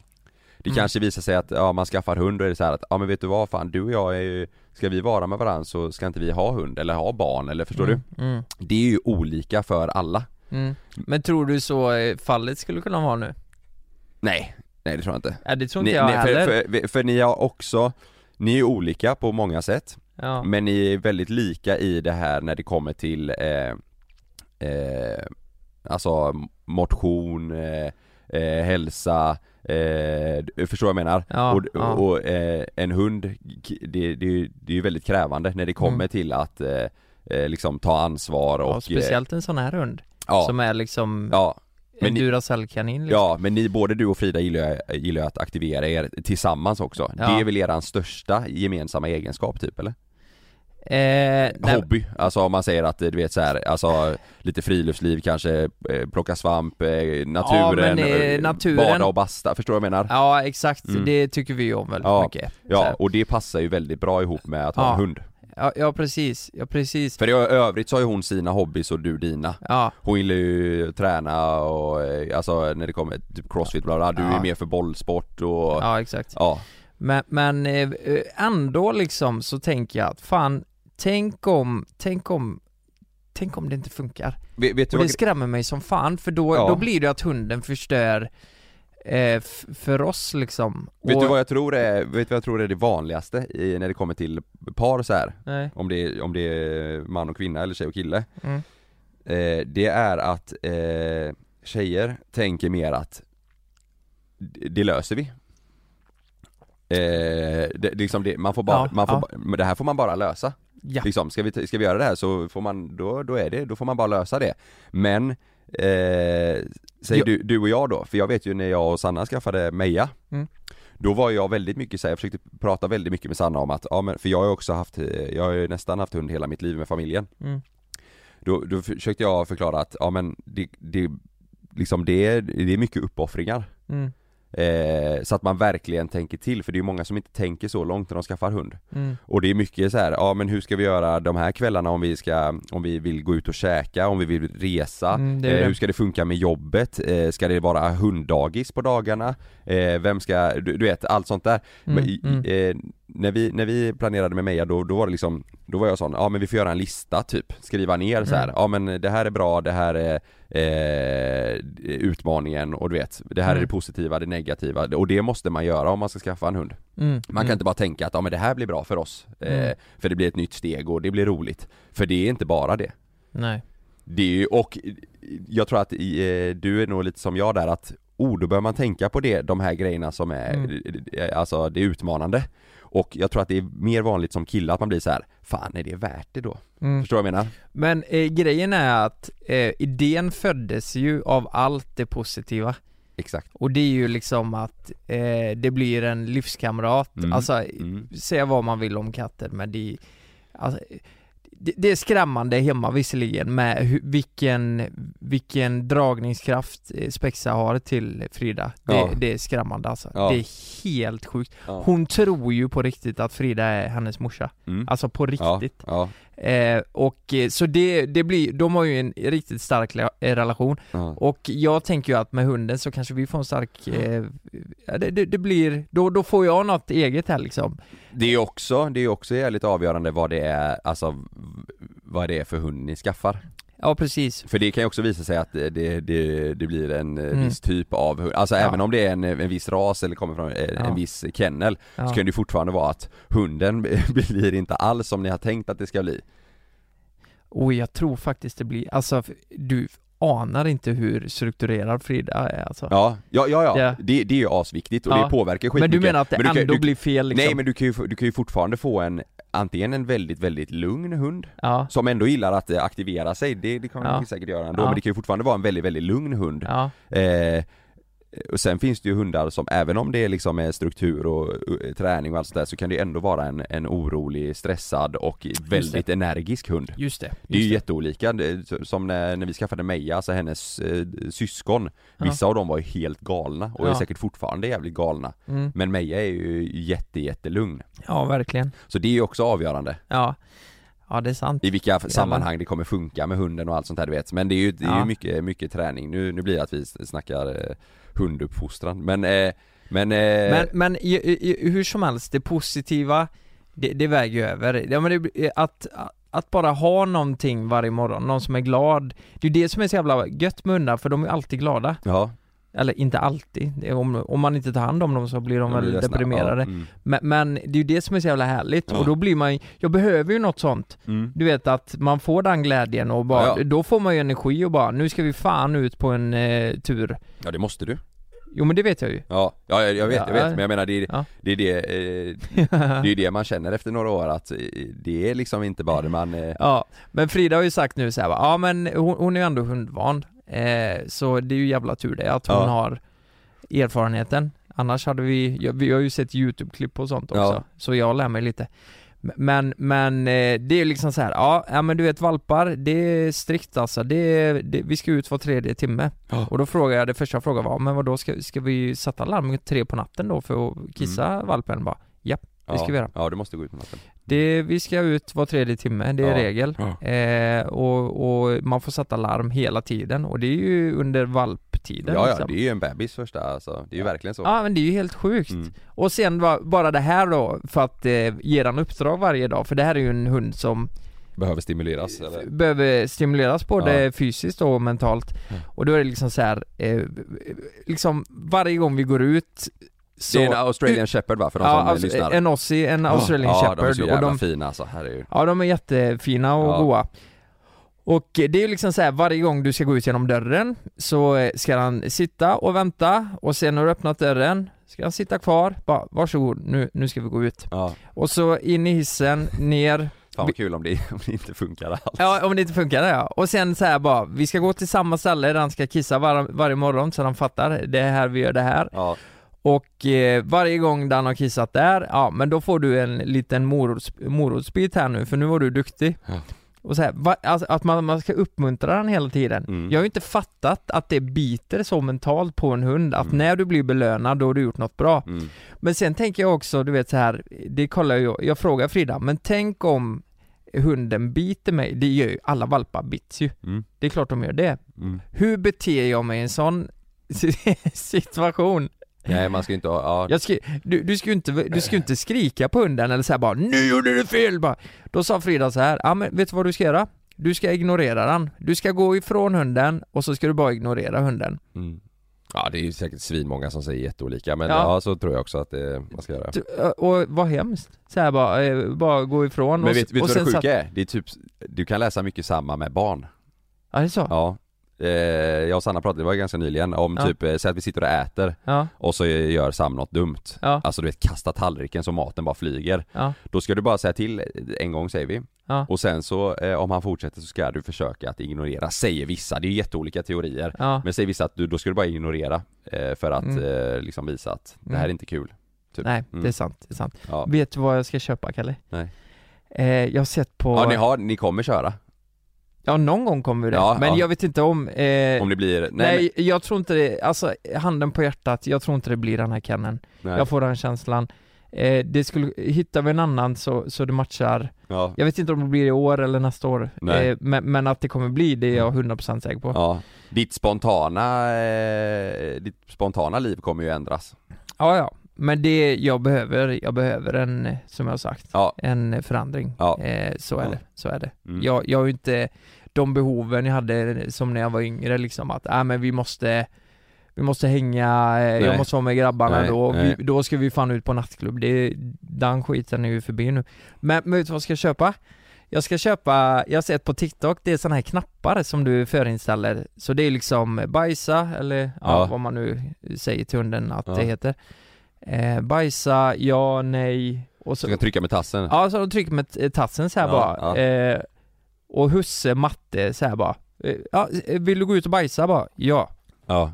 Speaker 1: Det
Speaker 2: Mm.
Speaker 1: kanske visar sig att ja, man skaffar hund och är det så här att ja men vet du vad fan du och jag är ju, ska vi vara med varandra så ska inte vi ha hund eller ha barn eller förstår
Speaker 2: mm, Mm,
Speaker 1: du? Det är ju olika för alla.
Speaker 2: mm. Men tror du så eh, fallet skulle kunna vara nu?
Speaker 1: Nej, nej det tror jag inte.
Speaker 2: Ja, det tror inte
Speaker 1: Ni-
Speaker 2: jag
Speaker 1: nej,
Speaker 2: heller
Speaker 1: för, för, för, för ni har också, ni är olika på många sätt
Speaker 2: ja.
Speaker 1: men ni är väldigt lika i det här när det kommer till eh, eh, alltså motion, eh, eh, hälsa, eh, du förstår vad jag menar?
Speaker 2: Ja,
Speaker 1: och
Speaker 2: ja.
Speaker 1: och eh, en hund, k- det, det, är ju- det är ju väldigt krävande när det kommer
Speaker 2: Mm.
Speaker 1: till att eh, eh, liksom ta ansvar och...
Speaker 2: ja, speciellt en sån här hund
Speaker 1: Eh, ja,
Speaker 2: som är liksom
Speaker 1: ja, men
Speaker 2: en
Speaker 1: ni-
Speaker 2: Duracell-kanin liksom.
Speaker 1: Ja, men ni, både du och Frida gillar ju- gillar ju att aktivera er tillsammans också.
Speaker 2: Ja.
Speaker 1: Det är väl eran största gemensamma egenskap typ eller?
Speaker 2: Eh, nej,
Speaker 1: hobby, alltså om man säger att eh, du vet så här, alltså lite friluftsliv kanske, eh, plocka svamp, eh, naturen,
Speaker 2: men, eh,
Speaker 1: eh,
Speaker 2: naturen-
Speaker 1: bada och basta, förstår du vad jag menar? Ja,
Speaker 2: ja exakt,
Speaker 1: Mm.
Speaker 2: det tycker vi ju om väldigt
Speaker 1: Ja,
Speaker 2: mycket. Så här.
Speaker 1: och det passar ju väldigt bra ihop med att ha
Speaker 2: Ja.
Speaker 1: en hund.
Speaker 2: ja, ja precis, ja precis.
Speaker 1: För i ö- övrigt så har ju hon sina hobbys och du dina.
Speaker 2: Ja,
Speaker 1: Hon gillar ju träna och eh, alltså när det kommer typ crossfit bla bla, du
Speaker 2: Ja.
Speaker 1: är mer för bollsport och ja.
Speaker 2: ja exakt. Men, men eh, eh, ändå liksom så tänker jag att fan, tänk om, tänk om, tänk om det inte funkar.
Speaker 1: Vet, vet du
Speaker 2: Och det
Speaker 1: vad
Speaker 2: skrämmer mig som fan för då,
Speaker 1: Ja.
Speaker 2: då blir det att hunden förstör eh, f- för oss liksom.
Speaker 1: Vet
Speaker 2: Och-
Speaker 1: du vad jag tror är, vet du vad jag tror är det vanligaste i, när det kommer till par så här?
Speaker 2: Nej.
Speaker 1: Om det, är- om det är man och kvinna eller tjej och kille
Speaker 2: Mm.
Speaker 1: eh, Det är att eh, tjejer tänker mer att d- det löser vi eh, det, liksom det, man får bara,
Speaker 2: Ja,
Speaker 1: man får
Speaker 2: ja.
Speaker 1: ba- men det här får man bara lösa
Speaker 2: Ja.
Speaker 1: Liksom, ska vi, ska vi göra det här så får man, då, då är det, då får man bara lösa det. Men, eh, säg
Speaker 2: Ja.
Speaker 1: du, du och jag då, för jag vet ju när jag och Sanna skaffade Meja
Speaker 2: Mm.
Speaker 1: Då var jag väldigt mycket så här, jag försökte prata väldigt mycket med Sanna om att, ja men för jag har ju också haft, eh, jag har ju nästan haft hund hela mitt liv med familjen
Speaker 2: Mm.
Speaker 1: då, då försökte jag förklara att, ja men det, det, liksom det, är- det är mycket uppoffringar
Speaker 2: Mm.
Speaker 1: eh, Så att man verkligen tänker till, för det är ju många som inte tänker så långt när de skaffar hund
Speaker 2: Mm.
Speaker 1: och det är mycket så här, ja men hur ska vi göra de här kvällarna om vi ska, om vi vill gå ut och käka, om vi vill resa,
Speaker 2: Mm, det är
Speaker 1: eh,
Speaker 2: det.
Speaker 1: hur ska det funka med jobbet, eh, ska det vara hunddagis på dagarna, eh, vem ska, du, du vet allt sånt där.
Speaker 2: Mm,
Speaker 1: Men, i-
Speaker 2: mm.
Speaker 1: Eh, när vi, när vi planerade med Meja då, då var det liksom, då var jag sån, ja men vi får göra en lista typ, skriva ner så här.
Speaker 2: Mm.
Speaker 1: ja men det här är bra, det här är eh, utmaningen och du vet, det här är
Speaker 2: Mm.
Speaker 1: det positiva, det negativa och det måste man göra om man ska skaffa en hund.
Speaker 2: Mm.
Speaker 1: Man kan inte bara tänka att ja men det här blir bra för oss, eh,
Speaker 2: Mm.
Speaker 1: för det blir ett nytt steg och det blir roligt. För det är inte bara det.
Speaker 2: Nej.
Speaker 1: Det är ju, och jag tror att eh, du är nog lite som jag där att oh, då bör man tänka på det, de här grejerna som är,
Speaker 2: Mm.
Speaker 1: eh, alltså det är utmanande Och jag tror att det är mer vanligt som kille att man blir så här: fan är det värt det då?
Speaker 2: Mm.
Speaker 1: Förstår du vad jag menar?
Speaker 2: Men eh, grejen är att eh, idén föddes ju av allt det positiva.
Speaker 1: Exakt
Speaker 2: Och det är ju liksom att eh, det blir en livskamrat,
Speaker 1: Mm.
Speaker 2: alltså
Speaker 1: mm.
Speaker 2: säga vad man vill om katter men det, alltså, det, det är skrämmande hemma visserligen med hu, vilken, vilken dragningskraft eh, Spexa har till Frida. Det,
Speaker 1: Ja.
Speaker 2: det är skrämmande alltså.
Speaker 1: Ja.
Speaker 2: Det är helt sjukt.
Speaker 1: Ja.
Speaker 2: Hon tror ju på riktigt att Frida är hennes morsa.
Speaker 1: Mm.
Speaker 2: Alltså på
Speaker 1: Ja,
Speaker 2: riktigt.
Speaker 1: ja,
Speaker 2: Eh, och eh, så det, det blir, de har ju en riktigt stark le- eh, relation.
Speaker 1: ja.
Speaker 2: Och jag tänker ju att med hunden så kanske vi får en stark, eh, ja, det, det, det blir, då, då får jag något eget här liksom.
Speaker 1: Det är också, det är också jävligt avgörande vad det är, alltså v- vad det är för hund ni skaffar
Speaker 2: Ja precis.
Speaker 1: För det kan ju också visa sig att det, det, det, det blir en eh,
Speaker 2: Mm.
Speaker 1: viss typ av hund, alltså
Speaker 2: Ja.
Speaker 1: även om det är en, en viss ras eller kommer från eh, en,
Speaker 2: Ja.
Speaker 1: en viss kennel
Speaker 2: Ja.
Speaker 1: så kan det ju fortfarande vara att hunden blir inte alls som ni har tänkt att det ska bli.
Speaker 2: Och jag tror faktiskt det blir, alltså f- du anar inte hur strukturerad Frida är alltså.
Speaker 1: Ja, ja, ja, ja.
Speaker 2: Ja.
Speaker 1: Det, det är ju asviktigt och
Speaker 2: Ja.
Speaker 1: det påverkar skitmycket.
Speaker 2: men du menar att det
Speaker 1: Men du kan-
Speaker 2: ändå
Speaker 1: du-
Speaker 2: blir fel liksom?
Speaker 1: Nej men du kan, ju, få- du kan ju fortfarande få en, antingen en väldigt, väldigt lugn hund
Speaker 2: Ja,
Speaker 1: som ändå gillar att eh, aktivera sig, det, det kan man
Speaker 2: Ja.
Speaker 1: säkert göra ändå,
Speaker 2: Ja.
Speaker 1: men det kan ju fortfarande vara en väldigt, väldigt lugn hund.
Speaker 2: ja,
Speaker 1: Eh, och sen finns det ju hundar som, även om det liksom är struktur och eh, träning och allt sånt där, så kan det ju ändå vara en, en orolig, stressad och väldigt energisk hund.
Speaker 2: just det. Just
Speaker 1: Det är ju
Speaker 2: det.
Speaker 1: jätteolika, Det- som när, när vi skaffade Meja, alltså hennes eh, syskon
Speaker 2: Ja.
Speaker 1: Vissa av dem var ju helt galna och är
Speaker 2: Ja.
Speaker 1: säkert fortfarande jävligt galna
Speaker 2: Mm.
Speaker 1: Men Meja är ju jätte, jättelugn
Speaker 2: Ja, verkligen.
Speaker 1: Så det är ju också avgörande
Speaker 2: Ja. Ja, det är sant.
Speaker 1: I vilka sammanhang det kommer funka med hunden och allt sånt här du vet Men det är ju, det är ju
Speaker 2: Ja.
Speaker 1: mycket, mycket träning, nu, nu blir det att vi snackar eh, hunduppfostran Men, eh, men, eh,
Speaker 2: Men, men i, i, i, hur som helst, det positiva, det, det väger ju över. Ja, men det, eh, att, att bara ha någonting varje morgon, någon som är glad. Det är ju det som är så jävla gött med hundar, för de är ju alltid glada.
Speaker 1: ja,
Speaker 2: Eller inte alltid, Det är om, om man inte tar hand om dem så blir de
Speaker 1: jag blir
Speaker 2: väl
Speaker 1: ledsna.
Speaker 2: deprimerade.
Speaker 1: Ja, mm,
Speaker 2: Men, men det är ju det som är så jävla härligt
Speaker 1: Ja.
Speaker 2: och då blir man ju- jag behöver ju något sånt.
Speaker 1: mm.
Speaker 2: Du vet att man får den glädjen och bara,
Speaker 1: Ja, ja.
Speaker 2: då får man ju energi och bara nu ska vi fan ut på en eh, tur.
Speaker 1: ja det måste du
Speaker 2: Jo men det vet jag ju.
Speaker 1: Ja, ja jag jag vet, jag vet,
Speaker 2: Ja.
Speaker 1: men jag menar det är
Speaker 2: Ja.
Speaker 1: det, är det, eh, det, är det man känner efter några år att eh, det är liksom inte bara det man, eh,
Speaker 2: Ja, men Frida har ju sagt nu såhär ja men hon, hon är ju ändå hundvan. Eh, så det är ju jävla tur det att hon
Speaker 1: Ja.
Speaker 2: har erfarenheten. Annars hade vi, ja, vi har ju sett YouTube-klipp och sånt också.
Speaker 1: Ja.
Speaker 2: Så jag lär mig lite. M- Men, men eh, det är ju liksom så här, ja, ja men du vet valpar, det är strikt alltså. Det, är- det, vi ska ut var tredje timme.
Speaker 1: Ja.
Speaker 2: Och då frågade jag, det första frågan var, men då ska, ska vi sätta larm tre på natten då för att kissa valpen? Bara, japp, det ska
Speaker 1: Mm. ja,
Speaker 2: vi göra.
Speaker 1: Ja, du måste gå ut på natten
Speaker 2: Det, vi ska ut var tredje timme, det är
Speaker 1: Ja.
Speaker 2: regel. Eh, och, och man får sätta larm hela tiden och det är ju under valptiden
Speaker 1: Ja, ja,
Speaker 2: liksom.
Speaker 1: det är ju en bebis första alltså, det är ju verkligen så
Speaker 2: Ja men det är ju helt sjukt.
Speaker 1: Mm.
Speaker 2: Och sen va- bara det här då, för att eh, ge den uppdrag varje dag, för det här är ju en hund som
Speaker 1: Behöver stimuleras
Speaker 2: f-
Speaker 1: eller?
Speaker 2: behöver stimuleras både
Speaker 1: Ja.
Speaker 2: fysiskt och mentalt.
Speaker 1: Mm.
Speaker 2: Och då är det liksom så här, eh, liksom varje gång vi går ut så...
Speaker 1: Det är en Australian shepherd va, för de som
Speaker 2: ja, aus-
Speaker 1: lyssnar? Ah,
Speaker 2: en Aussie, en Australian
Speaker 1: ja, de är
Speaker 2: shepherd
Speaker 1: så
Speaker 2: och
Speaker 1: jävla
Speaker 2: de
Speaker 1: fina alltså, herregud
Speaker 2: Ja, de är jättefina och
Speaker 1: Ja.
Speaker 2: goa. Och eh, det är ju liksom så här, varje gång du ska gå ut genom dörren så eh, ska han sitta och vänta och sen när du öppnat dörren ska han sitta kvar, bara varsågod nu, nu ska vi gå ut.
Speaker 1: Ja,
Speaker 2: Och så in i hissen, ner,
Speaker 1: fan vad kul om det, om det inte funkar alls
Speaker 2: ja om det inte funkar ja. Och sen så här bara, vi ska gå till samma ställe där han ska kissa var, varje morgon så han fattar, det är här vi gör det här.
Speaker 1: Ja,
Speaker 2: Och eh, varje gång Dan har kissat där, ja men då får du en liten morots, morotsbit här nu för nu var du duktig.
Speaker 1: Ja.
Speaker 2: Och så här, va, alltså, att man, man ska uppmuntra den hela tiden.
Speaker 1: Mm.
Speaker 2: Jag har ju inte fattat att det biter så mentalt på en hund, att när du blir belönad då har du gjort något bra.
Speaker 1: mm.
Speaker 2: Men sen tänker jag också, du vet så här, det kollar jag, jag frågar Frida, men tänk om hunden biter mig, det gör ju alla valpar bits ju.
Speaker 1: Mm.
Speaker 2: Det är klart de gör det.
Speaker 1: Mm.
Speaker 2: Hur beter jag mig i en sån situation?
Speaker 1: Nej man ska inte ha, ja,
Speaker 2: Jag skri... du, du, ska ju inte, du ska ju inte skrika på hunden eller säga bara 'Nu gjorde du fel!' Bara. Då sa Frida så här, ja men vet du vad du ska göra? Du ska ignorera den. Du ska gå ifrån hunden och så ska du bara ignorera hunden.
Speaker 1: mm. Ja det är ju säkert svinmånga som säger jätteolika men
Speaker 2: Ja.
Speaker 1: ja, så tror jag också att eh, man ska göra
Speaker 2: Du, ö, Och vad hemskt. Så här bara, eh, bara gå ifrån
Speaker 1: Men
Speaker 2: och,
Speaker 1: vet, vet du
Speaker 2: och
Speaker 1: vad det sjuka
Speaker 2: satt-
Speaker 1: är? Det är typ, du kan läsa mycket samma med barn
Speaker 2: Ja det är så? Ja.
Speaker 1: Ja eh, Jag och Sanna pratade, det var ganska nyligen, om
Speaker 2: Ja.
Speaker 1: typ, eh, säg att vi sitter och äter
Speaker 2: Ja.
Speaker 1: och så gör Sam något dumt
Speaker 2: Ja.
Speaker 1: Alltså du vet kasta tallriken så maten bara flyger
Speaker 2: Ja.
Speaker 1: Då ska du bara säga till en gång säger vi
Speaker 2: Ja.
Speaker 1: Och sen så eh, om han fortsätter så ska du försöka att ignorera, säger vissa, det är ju jätteolika teorier
Speaker 2: Ja.
Speaker 1: Men säger vissa att du, då ska du bara ignorera eh, för att
Speaker 2: Mm.
Speaker 1: eh, liksom visa att det här är
Speaker 2: Mm.
Speaker 1: inte kul typ.
Speaker 2: Nej,
Speaker 1: Mm.
Speaker 2: det är sant. Det är sant.
Speaker 1: Ja,
Speaker 2: Vet du vad jag ska köpa Kalle?
Speaker 1: Nej.
Speaker 2: Eh, jag har sett på...
Speaker 1: ja ni, har, ni kommer köra
Speaker 2: Ja, någon gång kommer vi det.
Speaker 1: Ja,
Speaker 2: men
Speaker 1: ja.
Speaker 2: jag vet inte om... Eh,
Speaker 1: om det blir, nej,
Speaker 2: nej, jag tror inte det, alltså handen på hjärtat, jag tror inte det blir den här kennen.
Speaker 1: men- nej.
Speaker 2: Jag får den känslan. Eh, det skulle, hittar vi en annan så, så det matchar,
Speaker 1: ja.
Speaker 2: jag vet inte om det blir i år eller nästa år,
Speaker 1: Nej. Mm.
Speaker 2: men, men att det kommer bli det är jag 100% säker på. Ja,
Speaker 1: Ja, ditt spontana, eh, ditt spontana liv kommer ju ändras.
Speaker 2: ja, men det jag behöver, jag behöver en, eh, som jag har sagt,
Speaker 1: Ja.
Speaker 2: en förändring.
Speaker 1: Ja.
Speaker 2: Eh, så är
Speaker 1: Ja.
Speaker 2: det, så är det.
Speaker 1: Mm.
Speaker 2: Jag, jag har ju inte de behoven jag hade som när jag var yngre liksom att, äh, men vi måste vi måste hänga, eh, jag
Speaker 1: Nej.
Speaker 2: måste vara med grabbarna
Speaker 1: Nej,
Speaker 2: då,
Speaker 1: nej.
Speaker 2: Vi, då ska vi fan ut på nattklubb, det, den skiten är ju förbi nu Men, men vet du vad jag ska köpa? Jag ska köpa, jag har sett på TikTok, det är såna här knappar som du förinställer Så det är liksom bajsa, eller ja,
Speaker 1: Ja.
Speaker 2: vad man nu säger till hunden att
Speaker 1: Ja.
Speaker 2: det heter eh, Bajsa, ja, nej och
Speaker 1: Så ska jag trycka med tassen.
Speaker 2: Ja, så de trycker med t- tassen så här
Speaker 1: Ja,
Speaker 2: bara.
Speaker 1: ja.
Speaker 2: Eh, och husse, matte så här bara. Eh, ja, eh, vill du gå ut och bajsa bara? Ja.
Speaker 1: Ja.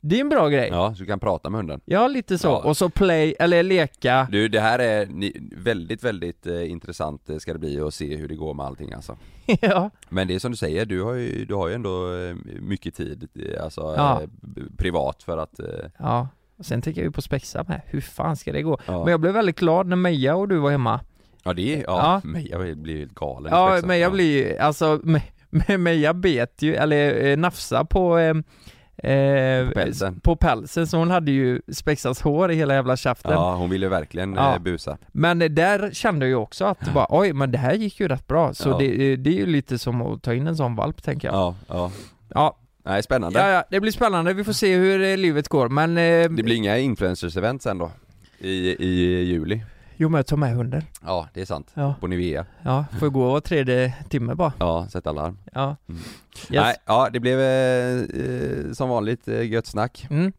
Speaker 2: Det är en bra grej. Ja,
Speaker 1: ja, så du kan prata med hunden.
Speaker 2: lite så.
Speaker 1: Ja.
Speaker 2: Och så play, eller leka.
Speaker 1: Du, det här är ni, väldigt, väldigt eh, intressant eh, ska det bli att se hur det går med allting alltså.
Speaker 2: ja.
Speaker 1: Men det är som du säger, du har ju, du har ju ändå eh, mycket tid, eh, alltså
Speaker 2: Ja.
Speaker 1: eh, b- privat för att eh,
Speaker 2: ja. Och sen tänker jag ju på spexa med. Hur fan ska det gå?
Speaker 1: Ja,
Speaker 2: Men jag blev väldigt glad när Meja och du var hemma.
Speaker 1: ja det är,
Speaker 2: Ja.
Speaker 1: ja, men jag blir ju helt galen i
Speaker 2: Ja,
Speaker 1: spexet.
Speaker 2: Meja blir ju, alltså, Me- Me- Meja bet ju, eller eh, nafsa på eh, eh,
Speaker 1: På pälsen.
Speaker 2: på pälsen, så hon hade ju spexas hår i hela jävla käften.
Speaker 1: Ja, hon ville verkligen
Speaker 2: Ja.
Speaker 1: eh, busa.
Speaker 2: Men eh, där kände jag ju också att bara, oj men det här gick ju rätt bra, så
Speaker 1: Ja.
Speaker 2: det, eh, det är ju lite som att ta in en sån valp tänker jag. Ja,
Speaker 1: Ja, ja.
Speaker 2: ja,
Speaker 1: Nej, spännande.
Speaker 2: ja, det blir spännande, vi får se hur eh, livet går men... Eh,
Speaker 1: Det blir inga influencers-event sen då? I, I juli?
Speaker 2: Jo men jag tar med hunden.
Speaker 1: Ja, det är sant.
Speaker 2: Ja,
Speaker 1: På Nivea.
Speaker 2: ja får gå var tredje timme bara.
Speaker 1: Ja, sätt alarm.
Speaker 2: Ja.
Speaker 1: Mm.
Speaker 2: Yes.
Speaker 1: Nej, ja det blev eh, eh, som vanligt eh, gött snack.
Speaker 2: Mm.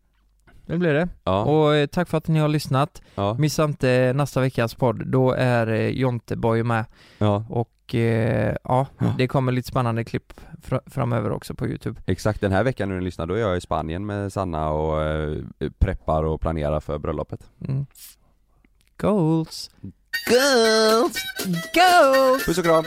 Speaker 2: Det blir det.
Speaker 1: Ja,
Speaker 2: Och eh, tack för att ni har lyssnat.
Speaker 1: ja,
Speaker 2: Missa inte nästa veckas podd, då är eh, Jonteboy med
Speaker 1: ja,
Speaker 2: och eh, ja, det kommer lite spännande klipp fr- framöver också på Youtube.
Speaker 1: exakt den här veckan nu ni lyssnar, då är jag i Spanien med Sanna och eh, preppar och planerar för bröllopet.
Speaker 2: Mm. Goals!
Speaker 1: Girls!
Speaker 2: Goals!
Speaker 1: Puss och kram!